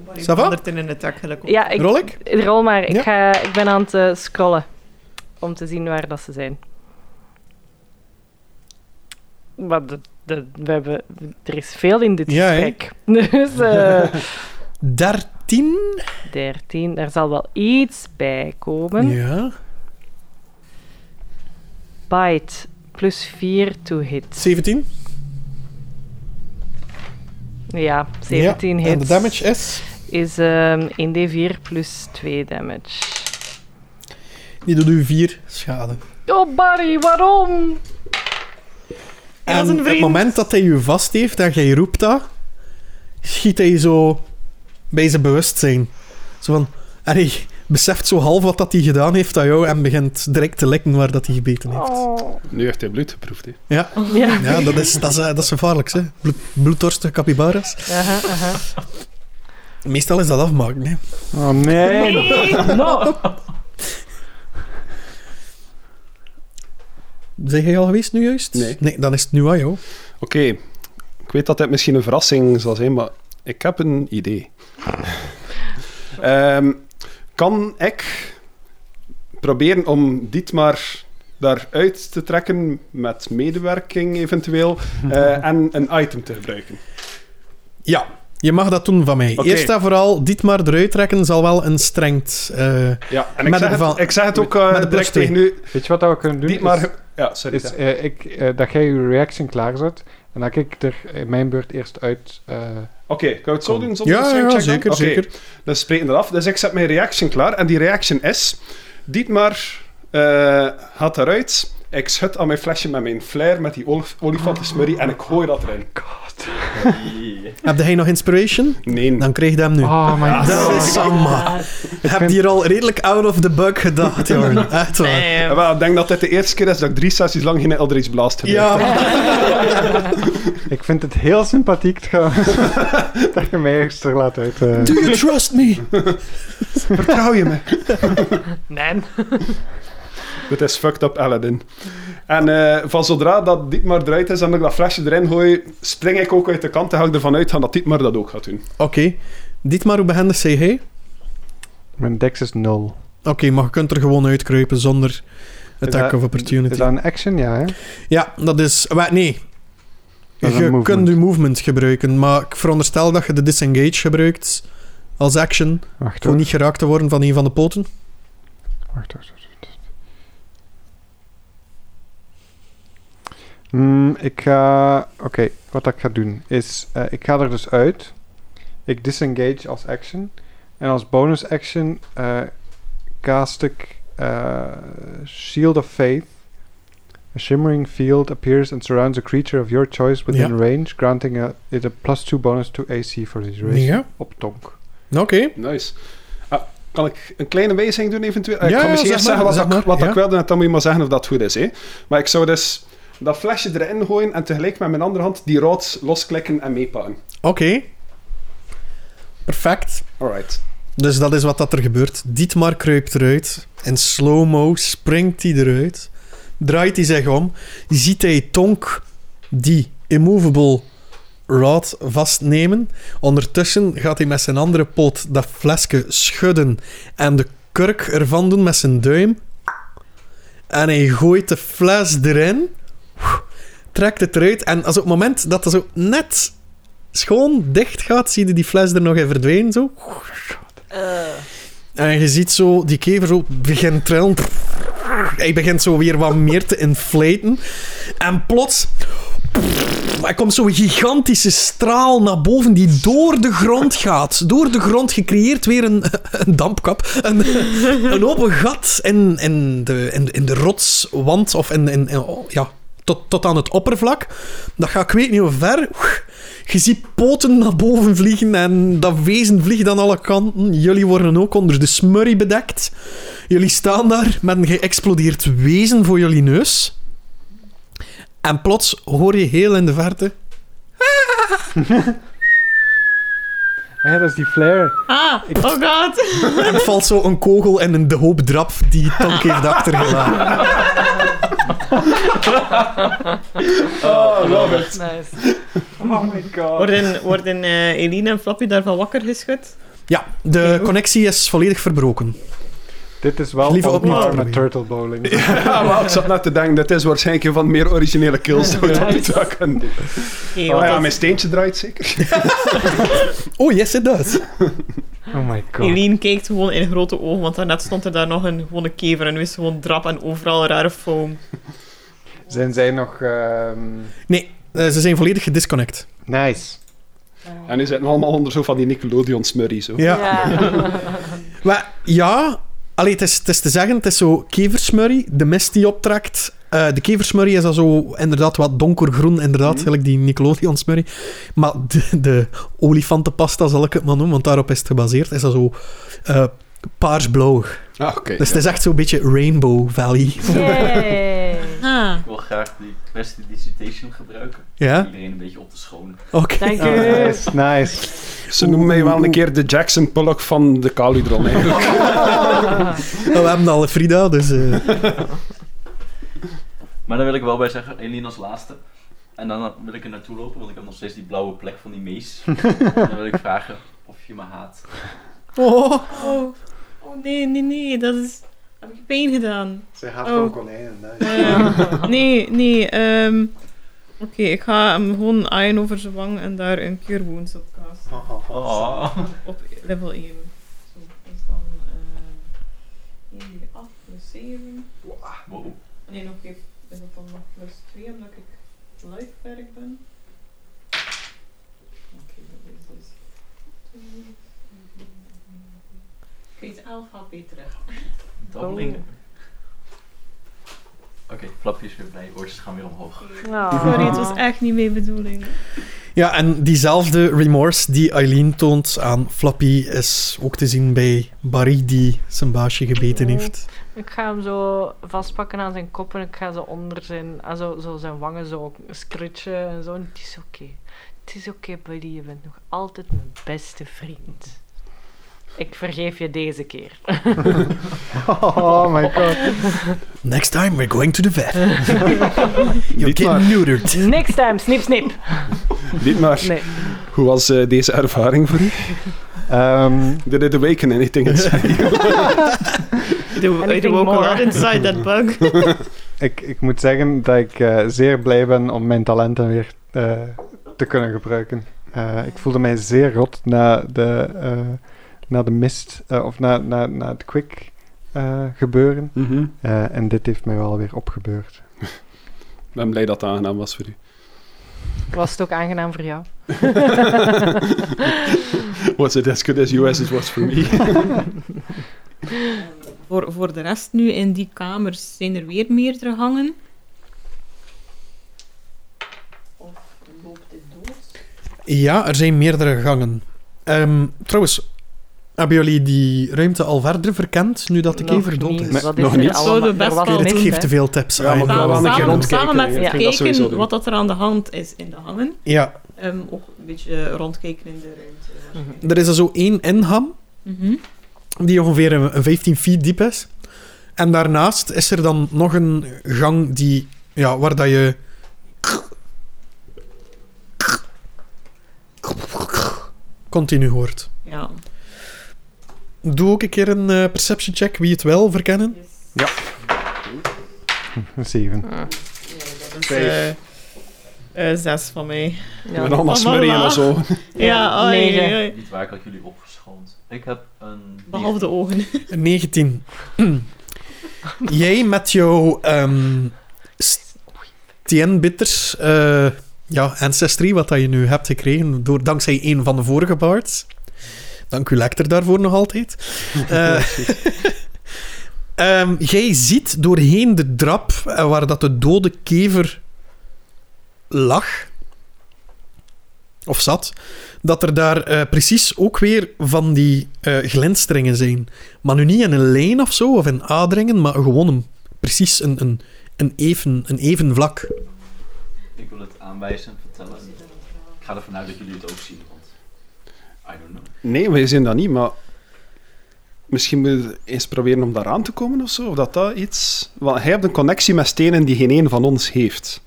S4: Barry
S2: Ça va?
S4: verandert in een attack gelijk op.
S5: Ja, ik,
S2: Rol ik?
S5: Rol maar. Ik,
S2: Ja.
S5: ga, ik ben aan het eh, scrollen. Om te zien waar dat ze zijn. Maar de, de, we hebben, er is veel in dit
S2: Ja, hè?
S5: gesprek. Dus eh
S2: 13?
S5: 13, daar zal wel iets bij komen.
S2: Ja.
S5: Bite, plus 4 to hit.
S2: 17?
S5: Ja, 17
S2: ja.
S5: hits.
S2: En de damage is?
S5: is ehm 1d4 plus 2 damage.
S2: Die doet u 4 schade.
S5: Oh Barry, waarom?
S4: Ja, dat
S2: en
S4: is een
S2: op het
S4: vriend.
S2: moment dat hij u vast heeft en jij roept dat, schiet hij zo bij zijn bewustzijn. Zo van, en hij beseft zo half wat dat hij gedaan heeft aan jou en begint direct te likken waar dat hij gebeten heeft.
S5: Oh.
S1: Nu heeft hij bloed geproefd. Hè.
S2: Ja,
S5: Ja.
S2: ja dat, is, dat, is, eh, dat is gevaarlijk, hè. Bloed, bloeddorstige capybaras.
S5: Aha, aha.
S2: Meestal is dat afmaken, hè.
S3: Oh nee.
S6: No!
S2: Zijn jij al geweest nu juist?
S1: Nee.
S2: dan is het nu aan jou.
S1: Oké, ik weet dat dit misschien een verrassing zal zijn, maar ik heb een idee. Ehm, kan ik proberen om Dietmar daaruit te trekken met medewerking eventueel eh, en een item te gebruiken?
S2: Ja, je mag dat doen van mij.
S1: Oké.
S2: Eerst en vooral, Dietmar eruit trekken zal wel een strengt... eh,
S1: Ja, en ik,
S2: Met
S1: zeg
S2: een
S1: het,
S2: val-
S1: ik zeg het ook eh,
S2: met een plus
S1: direct
S2: twee.
S1: tegen u.
S3: Weet je wat dat we kunnen doen? Is-
S1: Dietmar... Ja, sorry.
S3: is
S1: ja.
S3: eh, ik, eh, dat jij je reaction klaarzet en dat ik er in mijn beurt eerst uit. eh,
S1: Oké, kan ik het zo doen zonder
S2: ja,
S1: een
S2: ja,
S1: soundcheck dan?
S2: zeker,
S1: Oké,
S2: zeker.
S1: Dan spreken we eraf. Dus ik zet mijn reaction klaar. En die reaction is... Dietmar eh gaat eruit. Ik schud aan mijn flesje met mijn flair, met die olif olifantensmurrie. En ik gooi dat erin.
S2: Heb jij nog inspiration?
S1: Nee.
S2: Dan krijg je hem nu.
S3: Oh my god.
S2: Dat is Samma. Ik heb
S3: vind-
S2: hier al redelijk out of the bug gedacht, jongen. Echt waar.
S1: Eh, wel, ik denk dat dit de eerste keer is dat ik drie sessies lang geen Eldritch Blast heb.
S2: Ja, maar-
S3: Ik vind het heel sympathiek trouwens. dat je mij eerst er laat uit. eh.
S2: do you trust me?
S1: Vertrouw je me?
S5: Nee.
S1: Dit is fucked up Aladdin. En eh, van zodra dat Dietmar eruit is en dat ik dat flesje erin gooi, spring ik ook uit de kant en ga ik ervan uitgaan dat Dietmar dat ook gaat doen.
S2: Oké. Dietmar, hoe behendig zeg jij?
S3: Mijn dex is 0.
S2: Oké, maar je kunt er gewoon uitkruipen zonder attack
S3: dat-
S2: of opportunity.
S3: Is dat een action? Ja, hè?
S2: Ja, dat is... wa- Nee.
S3: Dat is een
S2: je
S3: movement.
S2: kunt je movement gebruiken, maar ik veronderstel dat je de disengage gebruikt als action.
S3: Wacht
S2: Om
S3: hoor.
S2: niet geraakt te worden van een van de poten.
S3: Wacht hoor. Hmm, ik ga. Oké, wat ik ga doen is. eh, ik ga er dus uit. Ik disengage als action. En als bonus action eh cast ik eh, Shield of Faith. A shimmering field appears and surrounds a creature of your choice within
S2: Ja.
S3: range, granting a, it a plus 2 bonus to AC for this duration.
S2: Ja.
S3: Op Tonk.
S2: Oké.
S1: Nice. Ah, kan ik een kleine wijziging doen eventueel? Ah,
S2: Ja,
S1: ik
S2: ja,
S1: kan misschien
S2: zeg
S1: eerst
S2: maar,
S1: zeggen wat,
S2: zeg
S1: ik-
S2: maar,
S1: wat
S2: ja.
S1: ik wilde en dan moet je maar zeggen of dat goed is. Hè? Maar ik zou dus dat flesje erin gooien en tegelijk met mijn andere hand die rood losklikken en meepakken.
S2: Oké. Perfect.
S1: Alright.
S2: Dus dat is wat dat er gebeurt. Dietmar kruipt eruit. In slow-mo springt hij eruit. Draait hij zich om. Ziet hij Tonk die immovable rod vastnemen. Ondertussen gaat hij met zijn andere poot dat flesje schudden. En de kurk ervan doen met zijn duim. En hij gooit de fles erin. Trekt het eruit. En als op het moment dat het zo net schoon dicht gaat, zie je die fles er nog in verdwijnen. Zo. En je ziet zo, die kever zo begint trillen. Hij begint zo weer wat meer te inflaten. En plots... Er komt zo'n gigantische straal naar boven die door de grond gaat. Door de grond gecreëerd weer een, een dampkap. Een, een open gat in, in, de, in, in de rotswand. Of in, in, in- oh, ja, tot, tot aan het oppervlak. Dat gaat ik weet niet hoe ver. Je ziet poten naar boven vliegen en dat wezen vliegt aan alle kanten. Jullie worden ook onder de smurrie bedekt. Jullie staan daar met een geëxplodeerd wezen voor jullie neus. En plots hoor je heel in de verte...
S3: Ah ja, dat is die flare.
S4: Ah, oh god.
S2: En valt zo een kogel en een de hoop drap die Tonk heeft achtergelaten.
S1: Ah,
S6: Oh, love it.
S5: Nice.
S3: Oh my god.
S4: Worden, worden eh, Eline en Flappy daarvan wakker geschud?
S2: Ja, de connectie is volledig verbroken.
S3: Dit is wel
S2: Liever
S3: Liever
S2: opnieuw
S3: met
S2: proberen.
S3: turtle bowling.
S1: Ja, maar ik zat net te denken, dat is waarschijnlijk een van de meer originele kills die we ooit wel kunnen doen.
S4: Oké,
S1: Ah
S4: wat
S1: ja,
S4: is-
S1: mijn steentje draait zeker.
S2: Oh, yes, it does.
S3: Oh my god.
S4: Eline kijkt gewoon in grote ogen, want daarnet stond er daar nog een gewone kever en nu is het gewoon drap en overal rare foam.
S3: Zijn zij nog... ehm,
S2: Eh, ze zijn volledig gedisconnect.
S3: Nice.
S1: En nu zitten we allemaal onder zo van die Nickelodeon-smurrie. Zo.
S2: Maar ja, allee, het, is, het is te zeggen, het is zo keversmurrie, de mist die optrekt. Eh, de keversmurrie is dan zo inderdaad wat donkergroen, inderdaad, gelijk die Nickelodeon smurrie. Maar de, de olifantenpasta, zal ik het maar noemen, want daarop is het gebaseerd, is dat zo eh, paarsblauw.
S1: Ah, oké.
S2: Dus het is echt zo'n beetje Rainbow Valley.
S5: Yay.
S4: Ah.
S6: Ik wil graag die prestidigitation gebruiken.
S2: Ja,
S6: Iedereen een beetje op te schonen.
S2: oké.
S5: Dank u.
S3: Oh, Nice, nice.
S1: Ze noemen mij wel een keer de Jackson Pollock van de Caludron eigenlijk.
S2: Nou, we hebben al Frida, dus... eh,
S6: Maar dan wil ik wel bij zeggen, Eline als laatste. En dan wil ik er naartoe lopen, want ik heb nog steeds die blauwe plek van die mees. en dan wil ik vragen of je me haat.
S2: Oh,
S4: Oh. oh, nee, nee, nee, dat is... Heb ik pijn gedaan?
S3: Zij haat
S4: Oh. van
S3: konijnen.
S4: Eh, nee, nee, ehm... Oké, ik ga hem gewoon aaien over zijn wang en daar een keer wounds op casten.
S6: Oh.
S4: Op level 1. Zo, dat is dan... eh 1 die 8 plus 7.
S6: Wow.
S4: Nee, nog even. Is dat dan nog plus 2 omdat ik lifewerk ben? Oké, dat is dus. Ik weet 11 HP terug.
S6: Doubling. Oké, Flappy is weer blij. Oortjes gaan weer omhoog.
S5: Oh.
S4: Sorry, het was echt niet mijn bedoeling.
S2: Ja, en diezelfde remorse die Eileen toont aan Flappy is ook te zien bij Barry, die zijn baasje gebeten heeft.
S5: Ik ga hem zo vastpakken aan zijn kop en ik ga zo onder zijn, ah, zo, zo zijn wangen zo scratchen en zo. En het is oké. Het is oké, buddy. Je bent nog altijd mijn beste vriend. Ik vergeef je deze keer.
S3: Oh my god.
S2: Next time we're going to the vet. You're
S1: Niet maar.
S2: getting neutered.
S5: Next time, snip snip.
S1: Niet maar.
S5: Nee.
S1: Hoe was eh, deze ervaring voor u?
S3: Ehm,
S1: Did it awaken anything inside you?
S4: Do, I
S5: Anything
S4: do
S5: more?
S4: lot inside that bug.
S3: ik, ik moet zeggen dat ik eh, zeer blij ben om mijn talenten weer eh, te kunnen gebruiken. Eh, ik voelde mij zeer rot na de, eh, na de mist, eh, of na, na, na het quick eh, gebeuren.
S1: Mhm.
S3: Eh, en dit heeft mij wel weer opgebeurd.
S1: Ik ben blij dat het aangenaam was voor u.
S5: Was het ook aangenaam voor jou?
S1: Was it as good as you as it was for me?
S4: Voor, voor de rest nu in die kamers zijn er weer meerdere hangen. Of loopt dit door?
S2: Ja, er zijn meerdere gangen. Ehm, trouwens, hebben jullie die ruimte al verder verkend, nu dat de
S5: Nog
S2: kever dood
S5: niet.
S2: is?
S1: Nee,
S5: Wat is
S1: nog
S5: er
S1: niet.
S5: allemaal-
S4: Zouden we
S5: er
S4: best
S5: was
S4: wel-
S5: niks,
S2: Dit geeft
S5: hè?
S2: te veel tips.
S1: Ja, maar
S2: Ah,
S1: wel
S2: my god.
S1: een keer
S4: samen,
S1: rondkijken,
S4: samen
S1: ja.
S4: met
S1: Ik denk dat
S4: kijken
S1: sowieso doen.
S4: wat dat er aan de hand is in de hangen.
S2: Ja,
S4: Ehm, ook een beetje rondkijken in de ruimte.
S2: er is er zo één inham,
S4: Mhm.
S2: die ongeveer een een 15 feet diep is. En daarnaast is er dan nog een gang die, ja, waar dat je... Continu hoort.
S4: Ja.
S2: Doe ook een keer een eh, perception check, wie het wel verkennen.
S3: Zeven.
S4: Eh, eh, zes van mij.
S1: Met
S5: Ja.
S1: allemaal smurrie en
S4: laag.
S1: zo.
S4: Ja,
S5: Ja,
S4: oei,
S5: negen.
S4: oei, oei.
S6: Niet waar, ik had jullie opgeschoond. Ik heb een...
S4: Behalve de ogen.
S2: 19. Jij met jouw ehm TN bitters, eh, ja, Ancestry, wat dat je nu hebt gekregen, door, dankzij een van de vorige bards. Dank u lecter daarvoor nog altijd. Eh, ehm, jij ziet doorheen de drap eh, waar dat de dode kever lag, of zat, dat er daar eh, precies ook weer van die eh glenstringen zijn. Maar nu niet in een lijn of zo, of in A-dringen, maar gewoon een, precies een, een, een, even, een even vlak.
S6: Ik wil het aanwijzen en vertellen. Ik ga ervan uit dat jullie het ook zien, want... I don't know.
S1: Nee, wij zien dat niet, maar... Misschien moet je eens proberen om daar aan te komen of zo. Of dat dat iets... Want hij heeft een connectie met stenen die geen een van ons heeft.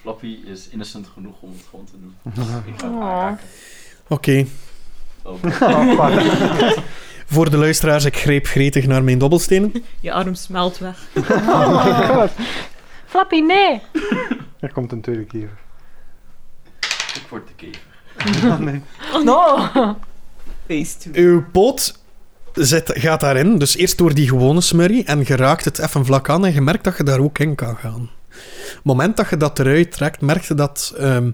S6: Flappy is innocent genoeg om het gewoon te doen. Ik ga het aanraken.
S2: Oké,
S6: Oh,
S3: Oh, fuck.
S2: voor de luisteraars, ik greep gretig naar mijn dobbelstenen.
S4: Je arm smelt weg.
S5: Flappy, nee!
S3: er komt een tweede keer.
S6: ik word de kever.
S5: Oh. No!
S4: Face to.
S2: Uw poot zit, gaat daarin, dus eerst door die gewone smurrie en je raakt het even vlak aan en je merkt dat je daar ook in kan gaan. het moment dat je dat eruit trekt, merk je dat ehm,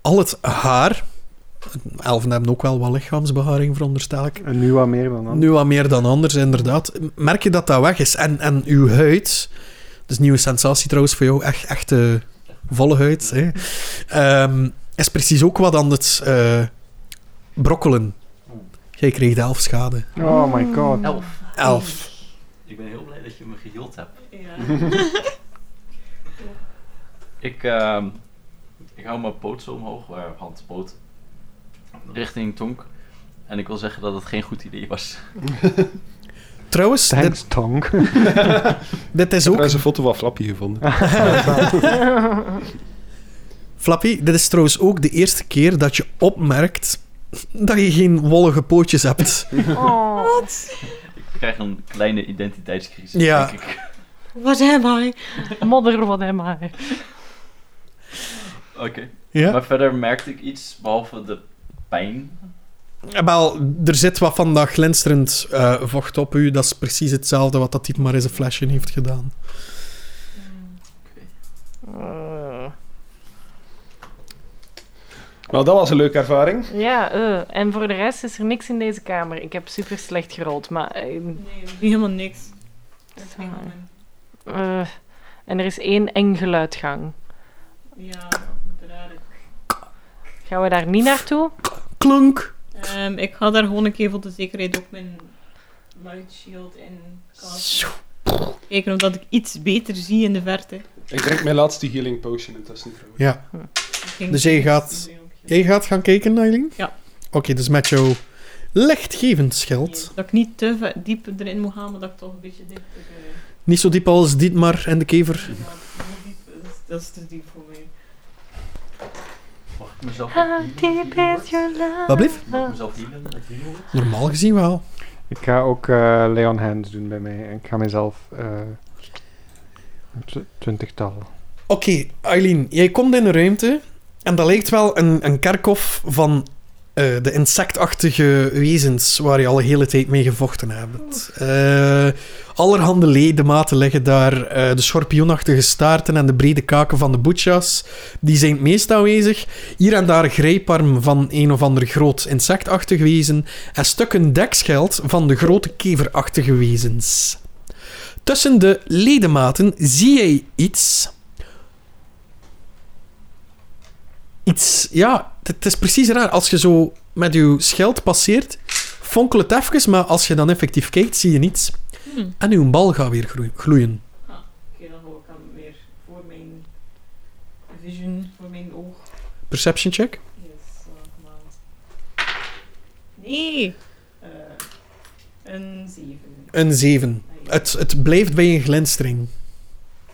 S2: al het haar... Elfen hebben ook wel wat lichaamsbeharing, veronderstel ik.
S3: En nu wat meer dan anders.
S2: Nu wat meer dan anders, inderdaad. Merk je dat dat weg is. En, en uw huid... Dat is nieuwe sensatie trouwens voor jou. Echt, echt eh, volle huid. Hè. Ehm, is precies ook wat aan het eh, brokkelen. Jij kreeg de elf schade.
S3: Oh my god.
S6: Elf.
S2: Elf.
S6: Ik ben heel blij dat je me geheeld hebt.
S4: Ja.
S6: Ik, ehm, ik hou mijn poot zo omhoog, eh, hand, poot, richting Tonk. En ik wil zeggen dat het geen goed idee was.
S2: Trouwens, dit,
S3: Thanks, Tonk.
S2: dit
S1: Ik
S2: is
S1: heb
S2: ook...
S1: eens een foto van Flappy
S5: Ah.
S1: gevonden.
S2: Flappy, dit is trouwens ook de eerste keer dat je opmerkt dat je geen wollige pootjes hebt.
S5: Oh.
S6: Ik krijg een kleine identiteitscrisis,
S2: Ja.
S6: denk ik.
S4: Wat heb I?
S5: Modder, wat hem maar.
S6: Oké.
S2: Ja?
S6: Maar verder merkte ik iets, behalve de pijn.
S2: Eh, Wel, er zit wat van dat glinsterend eh, vocht op u. Dat is precies hetzelfde wat dat dit maar eens een flesje heeft gedaan.
S5: Eh,
S1: Maar dat was een leuke ervaring.
S5: Ja, eh. en voor de rest is er niks in deze kamer. Ik heb super slecht gerold, maar... eh,
S4: Nee, niet helemaal niks. Er is niemand
S5: Saai.
S4: in.
S5: eh, en er is één eng geluidgang.
S4: Ja, raar.
S5: Gaan we daar niet naartoe?
S2: Klunk!
S4: Ehm, ik ga daar gewoon een keer voor de zekerheid ook mijn light shield in casten. Kijken omdat ik iets beter zie in de verte.
S1: Ik drink mijn laatste healing potion intussen. trouwens.
S2: Ja.
S4: Ging-
S2: Dus jij gaat- Jij gaat gaan kijken, Nailing?
S4: Ja.
S2: Oké, dus met jouw lichtgevend schild.
S4: Dat ik niet te ver- diep erin moet gaan, maar dat ik toch een beetje dichter... eh,
S2: Niet zo diep als Dietmar en de kever.
S4: ja, heel diep is- Dat is te diep voor mij.
S6: Mag ik mezelf
S5: How
S6: ook
S5: deep
S6: healen?
S5: is your love?
S2: Wat blieft?
S6: Mag ik mezelf healen? Met healen?
S2: Normaal gezien wel.
S3: Ik ga ook eh, Leon Hands doen bij mij. En ik ga mezelf eh, een tw- twintigtal.
S2: Oké, Eileen, jij komt in een ruimte en dat lijkt wel een, een kerkhof van eh, de insectachtige wezens waar je al de hele tijd mee gevochten hebt. Eh, allerhande ledematen liggen daar, eh, de schorpioenachtige staarten en de brede kaken van de boetjas, die zijn het meest aanwezig. Hier en daar een grijparm van een of ander groot insectachtig wezen en stukken dekscheld van de grote keverachtige wezens. Tussen de ledematen zie jij iets iets... Ja, het het is precies raar. Als je zo met je scheld passeert, fonkelt het even, maar als je dan effectief kijkt, zie je niets.
S4: Hmm.
S2: En uw bal gaat weer groe- gloeien.
S4: Oké, dan hou ik hem weer voor mijn vision, voor mijn oog.
S2: Perception check.
S4: Yes, eh, come on. Nee! Eh, een Ah, 7.
S2: Een 7. Het, het blijft bij een glinstering.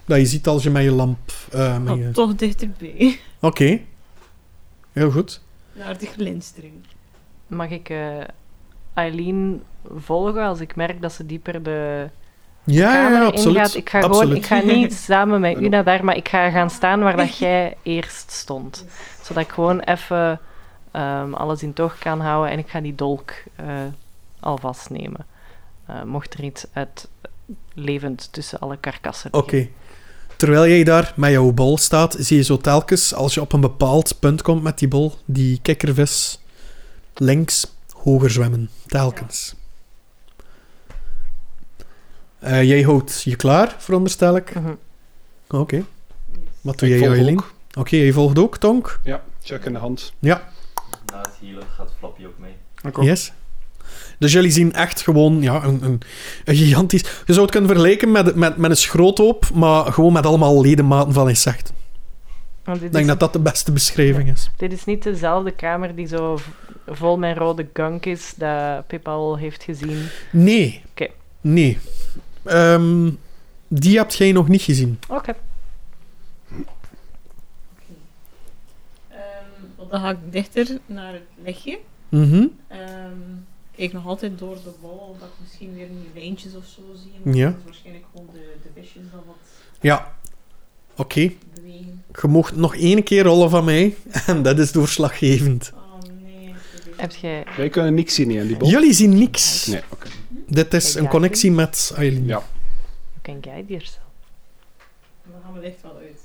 S2: Dat je ziet als je met je lamp... eh, met je-
S4: Oh, toch dichterbij.
S2: Oké. Heel goed.
S4: Naar de glinstering.
S5: Mag ik eh, Eileen volgen als ik merk dat ze dieper de
S2: Ja, ja,
S5: kamer
S2: ja,
S5: ingaat?
S2: absoluut.
S5: Ik ga, gewoon,
S2: Absoluut.
S5: ik ga niet samen met u naar daar, maar ik ga gaan staan waar dat jij eerst stond. Zodat ik gewoon even ehm, alles in toog kan houden en ik ga die dolk eh, alvast nemen. Eh, mocht er iets uit levend tussen alle karkassen
S2: Oké. Terwijl jij daar met jouw bol staat, zie je zo telkens, als je op een bepaald punt komt met die bol, die kikkervis links hoger zwemmen. Telkens. Eh, jij houdt je klaar, veronderstel ik.
S5: Mhm.
S2: Oké. Wat doe
S1: Ik
S2: jij,
S1: volg
S2: Eileen?
S1: ook.
S2: Oké, jij volgt ook, Tonk.
S1: Ja, check in de hand.
S6: na het healen gaat Flappy ook mee.
S2: Yes. Dus jullie zien echt gewoon ja, een, een, een gigantisch... Je zou het kunnen vergelijken met, met, met een schroothoop, maar gewoon met allemaal ledematen van insecten.
S5: Want dit,
S2: Ik denk
S5: is,
S2: dat dat de beste beschrijving is.
S5: dit is niet dezelfde kamer die zo v- vol met rode gunk is dat Pippa al heeft gezien.
S2: Nee.
S5: Oké.
S2: Nee. Ehm, die hebt jij nog niet gezien.
S5: Oké.
S4: Ehm, dan ga ik dichter naar het lichtje.
S2: Mhm.
S4: Ehm, kijk nog altijd door de wal, dat ik misschien weer nieuwe lijntjes of zo zie. Maar
S2: Ja.
S4: dat is waarschijnlijk gewoon de, de visjes dan wat
S2: Ja. Oké.
S4: bewegen.
S2: Je mocht nog één keer rollen van mij. En dat is doorslaggevend.
S4: Oh nee. ik weet
S5: Heb
S4: het
S5: jij...
S1: Wij kunnen niks zien in die bol.
S2: Jullie zien niks.
S1: Nee, oké.
S2: Dit is een connectie met Aileen.
S1: Ja.
S5: You can guide yourself.
S4: niet. Dan gaan we licht wel uit.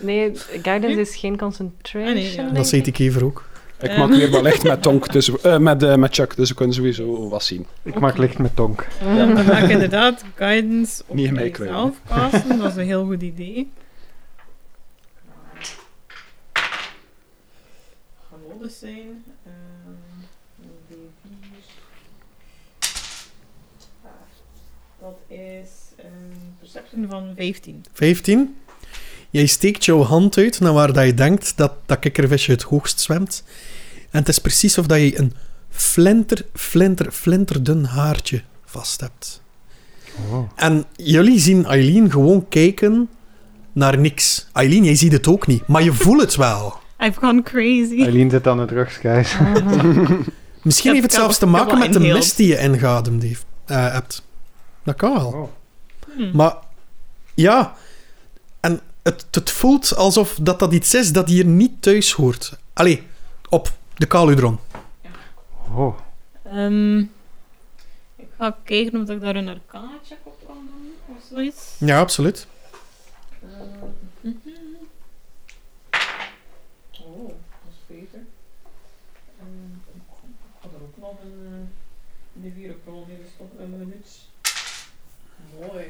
S5: Nee, guidance is geen concentration,
S4: Ah, nee, ja.
S5: denk
S2: Dat zei ik even ook.
S1: Ik
S4: Ehm.
S1: maak weer wel echt met Tonk, dus, we- eh, met, eh, met Chuck, dus we kunnen sowieso wat zien.
S3: Ik maak licht met tonk.
S4: Ja, dan ga ik inderdaad guidance op
S1: Niet in mij
S4: jezelf casten. Dat is een heel goed idee. Gaan dus zijn. Ehm, een D4. Dat is een perception van 15.
S2: 15. Jij steekt jouw hand uit naar waar dat je denkt dat dat kikkervisje het hoogst zwemt. En het is precies of dat je een flinter, flinter, flinterdun haartje vast hebt.
S3: Oh.
S2: En jullie zien Eileen gewoon kijken naar niks. Eileen, jij ziet het ook niet, maar je voelt het wel.
S4: I've gone crazy.
S3: Eileen zit aan het rugschijs.
S2: Misschien
S4: Ja,
S2: heeft het
S4: kan-
S2: zelfs te
S4: kan
S2: maken
S4: wel
S2: met de
S4: ingehaald.
S2: mist die je ingeademd heeft, eh, hebt. Dat kan wel.
S3: Oh.
S4: Hmm.
S2: Maar ja, en het, het voelt alsof dat, dat iets is dat hier niet thuis hoort. Allee, op de Caludron.
S3: Oh.
S4: Ehm, ik ga kijken of ik daar een arcana check op kan doen of zoiets.
S2: Ja, absoluut.
S4: Oh, dat is beter. Ehm, ik had er ook nog een eh, de vierenkrol in gestopt, een minuut. Mooi.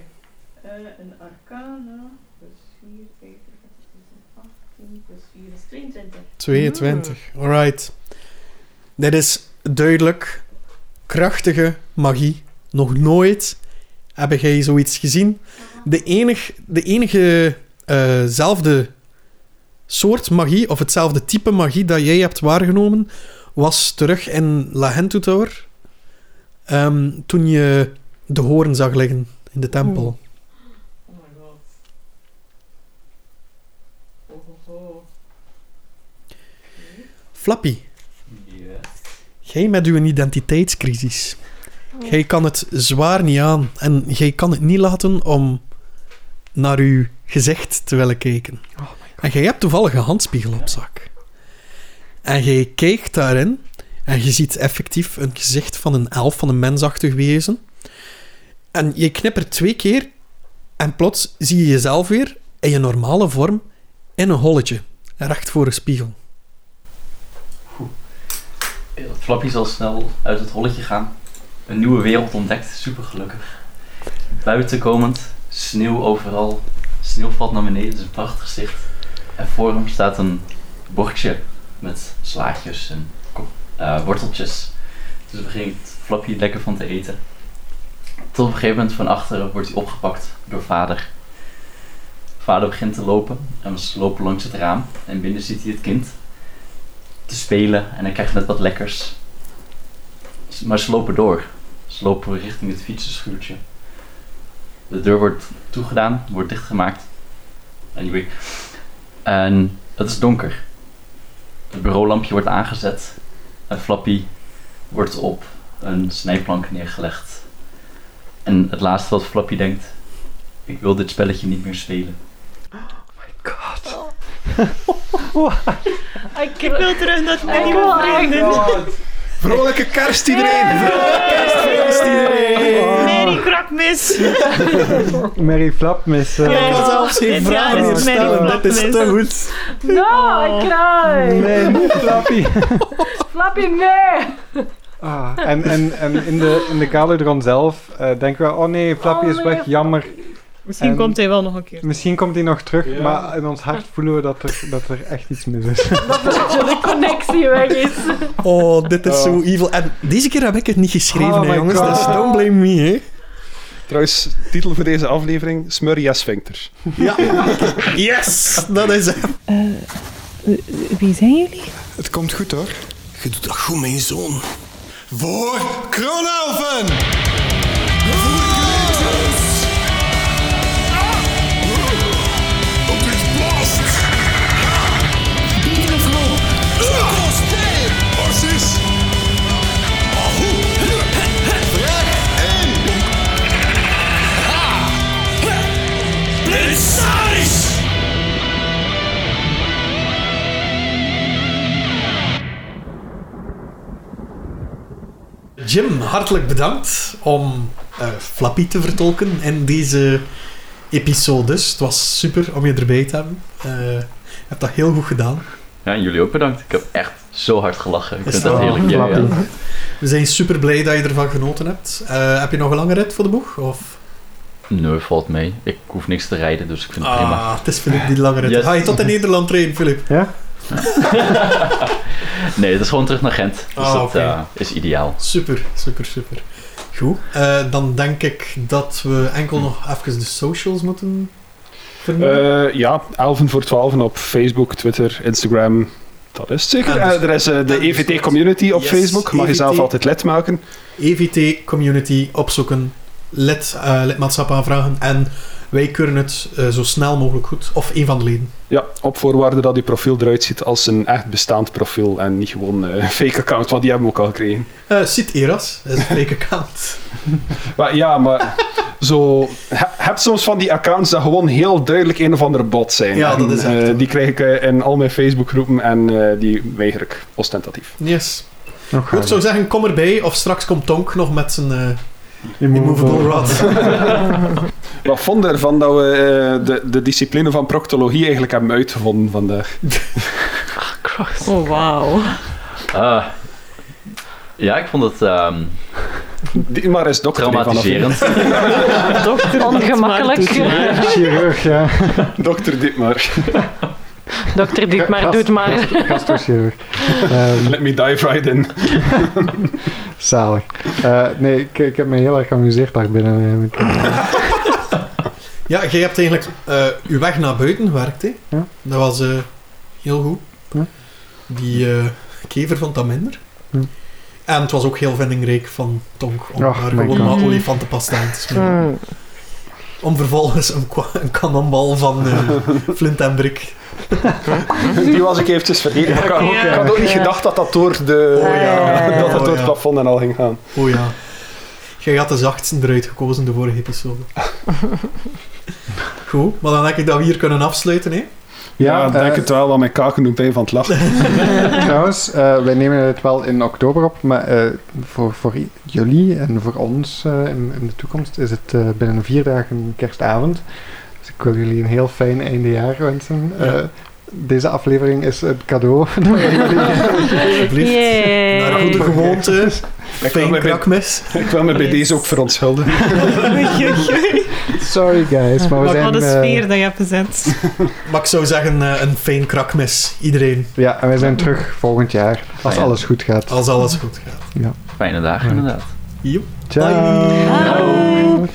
S4: Eh, een arcana, plus 4, 5, 18, plus 4 is 22.
S2: 22. Alright. Dit is duidelijk krachtige magie. Nog nooit heb jij zoiets gezien. De, enig, de enige eh, zelfde soort magie, of hetzelfde type magie dat jij hebt waargenomen, was terug in La Hentu Tower. Ehm, toen je de hoorn zag liggen in de tempel.
S4: Oh my god. Oh, oh, oh.
S2: Flappy,
S6: Yes.
S2: Jij met uw identiteitscrisis. Jij kan het zwaar niet aan. En jij kan het niet laten om naar uw gezicht te willen kijken. en jij hebt toevallig een handspiegel op zak. En jij kijkt daarin. En je ziet effectief een gezicht van een elf, van een mensachtig wezen. En je knippert twee keer. En plots zie je jezelf weer in je normale vorm in een holletje. Recht voor een spiegel.
S6: Flappy zal snel uit het holletje gaan. Een nieuwe wereld ontdekt, super gelukkig. Buiten komend, sneeuw overal. Sneeuw valt naar beneden, het is een prachtig zicht. En voor hem staat een bordje met slaatjes en ko- eh, worteltjes. Dus er begint Flappy lekker van te eten. Tot op een gegeven moment van achteren wordt hij opgepakt door vader. Vader begint te lopen en we lopen langs het raam. En binnen ziet hij het kind te spelen en dan krijg je net wat lekkers. S- Maar ze lopen door. Ze lopen richting het fietsenschuurtje. De deur wordt toegedaan, wordt dichtgemaakt. Anyway. En het is donker. Het bureaulampje wordt aangezet. En Flappy wordt op een snijplank neergelegd. En het laatste wat Flappy denkt: Ik wil dit spelletje niet meer spelen.
S5: Ik
S4: Ah, Ik wil terug naar het
S5: Ik wil
S4: mijn vrienden.
S1: Vrolijke kerst iedereen! Vrolijke kerst, feest iedereen!
S4: Merry Krakmis!
S3: Mary Flap mis. eh,
S4: Ja.
S2: Ik kan zelfs geen
S4: Dit
S2: vragen
S4: jaar is
S2: meer
S4: het
S2: stellen.
S4: mijn
S2: Dat is te
S4: optimist.
S2: goed.
S5: No,
S4: Oh.
S5: I cry!
S3: Nee, niet Flappy.
S5: Flappy meer!
S3: Ah, en en, en in de, in de Kaludron zelf eh, denken we, oh nee, Flappy
S5: Oh
S3: is
S5: nee,
S3: weg, jammer.
S4: Misschien
S3: En-
S4: komt hij wel nog een keer.
S3: Misschien komt hij nog terug,
S1: Ja.
S3: maar in ons hart voelen we dat er, dat er echt iets mis is.
S5: de connectie weg is.
S2: Oh, dit is
S1: Oh.
S2: zo evil. En deze keer heb ik het niet geschreven,
S3: Oh
S2: hè,
S3: my
S2: jongens.
S3: God.
S2: Dus don't blame me, hè.
S1: Trouwens, titel voor deze aflevering: Smurria Sphincter.
S2: Ja. Yes, dat is hem.
S4: Wie zijn jullie?
S7: Het komt goed hoor. Je doet dat goed, mijn zoon. Voor Kronalven! Voor Kratos! Op dit blast! Biedrefloop! Kratos, nee! Orsis! Ahoe! Vraag 1! Ha! Blitzaris!
S2: Jim, hartelijk bedankt om eh, Flappy te vertolken in deze episodes. Het was super om je erbij te hebben. Eh, je hebt dat heel goed gedaan.
S6: Ja, en jullie ook bedankt. Ik heb echt zo hard gelachen. Ik
S2: Is
S6: vind
S2: dat
S6: dat heerlijk. Ja, ja.
S3: Flappy.
S2: We zijn super blij dat je ervan genoten hebt. Eh, heb je nog een lange rit voor de boeg? Of?
S6: Nee, valt mee. Ik hoef niks te rijden, dus ik vind het prima.
S2: Ah, het is Filip die de lange rit.
S6: Yes.
S2: Ga je tot in Nederland trainen, Filip?
S3: ja?
S6: Nee, het is gewoon terug naar Gent. Dus
S2: Ah,
S6: dat
S2: oké.
S6: eh, is ideaal.
S2: Super, super, super. Goed. Eh, dan denk ik dat we enkel nog even de socials moeten vermelden.
S1: Eh, ja, 11 voor 12 op Facebook, Twitter, Instagram. Dat is het zeker.
S2: En dus-
S1: Eh, er is eh, de
S2: en dus-
S1: EVT community op
S2: Yes,
S1: Facebook. Mag je
S2: EVT.
S1: zelf altijd lid maken.
S2: EVT E community opzoeken, lid, eh, lidmaatschap aanvragen en wij keuren het eh, zo snel mogelijk goed. Of één van de leden.
S1: Ja, op voorwaarde dat je profiel eruit ziet als een echt bestaand profiel en niet gewoon eh, een fake account, want die hebben we ook al gekregen.
S2: Eh Sit Eras, dat is een fake account.
S1: Maar ja, maar zo... He, heb soms van die accounts dat gewoon heel duidelijk een of andere bot zijn.
S2: Ja, dat
S1: En,
S2: is echt
S1: eh,
S2: zo.
S1: die krijg ik eh, in al mijn Facebookgroepen en eh, die weiger ik ostentatief.
S2: Yes.
S3: Nog
S2: Goed, ik zou zeggen, kom erbij of straks komt Tonk nog met zijn eh, immovable rod.
S1: Wat vond je ervan dat we eh, de, de discipline van proctologie eigenlijk hebben uitgevonden vandaag?
S5: Cross.
S4: Oh, wauw.
S6: Ah. ja, ik vond het ehm,
S1: Die maar eens dokter die vanaf hier.
S6: traumatiserend.
S4: Dokter,
S5: Ongemakkelijk.
S4: doet maar, doet
S3: Chirurg, ja.
S1: Dokter Dietmar.
S5: Dokter Dietmar, doet maar.
S3: Gastrochirurg. Ehm,
S1: Let me dive right in.
S3: zalig. Eh, nee, ik, ik heb me heel erg geamuseerd daar binnen. eh, eigenlijk.
S2: Ja, jij hebt eigenlijk eh, uw weg naar buiten gewerkt. Hè?
S3: Ja.
S2: Dat was eh, heel goed.
S3: Ja.
S2: Die eh, kever vond dat minder.
S3: Ja.
S2: En het was ook heel vindingrijk van Tonk om
S3: Ach,
S2: daar
S3: my
S2: gewoon
S5: God.
S2: maar olifantenpasta aan te smeren.
S5: Mm.
S2: Om vervolgens een, kwa- een kanonbal van eh, flint en brik.
S1: Die was ik eventjes vergeten. Ik had, ook- ik had ook niet
S5: Ja.
S1: gedacht dat dat door de...
S5: Oh ja.
S1: Dat het
S2: Oh
S1: door het
S2: ja.
S1: plafond en al ging gaan.
S2: Oh ja. Jij had de zachtste eruit gekozen de vorige episode. Goed, maar dan denk ik dat we hier kunnen afsluiten. Hè?
S1: Ja, ik denk
S3: eh,
S1: het wel, want mijn kaken doen pijn van het lachen.
S3: Trouwens, eh, wij nemen het wel in oktober op, maar eh, voor, voor i- jullie en voor ons eh, in, in de toekomst is het eh, binnen vier dagen kerstavond. Dus ik wil jullie een heel fijn eindejaar wensen. Eh, deze aflevering is een cadeau. voor jullie.
S2: Alsjeblieft.
S5: Yay.
S2: Naar goede gewoonte.
S1: Ik wil,
S2: Fijn
S1: me bij,
S2: krakmes.
S1: ik wil me bij deze ook verontschuldigen.
S3: Sorry guys, maar we zijn...
S4: Wat een
S3: eh,
S4: sfeer dat je hebt gezet.
S2: Maar ik zou zeggen, eh, een fijn krakmes. Iedereen,
S3: ja, en wij zijn terug volgend jaar,
S4: Ah,
S3: als
S6: Fijn.
S3: alles goed gaat.
S2: als alles goed gaat.
S6: Fijne dagen, inderdaad.
S3: Ciao!
S5: Hallo.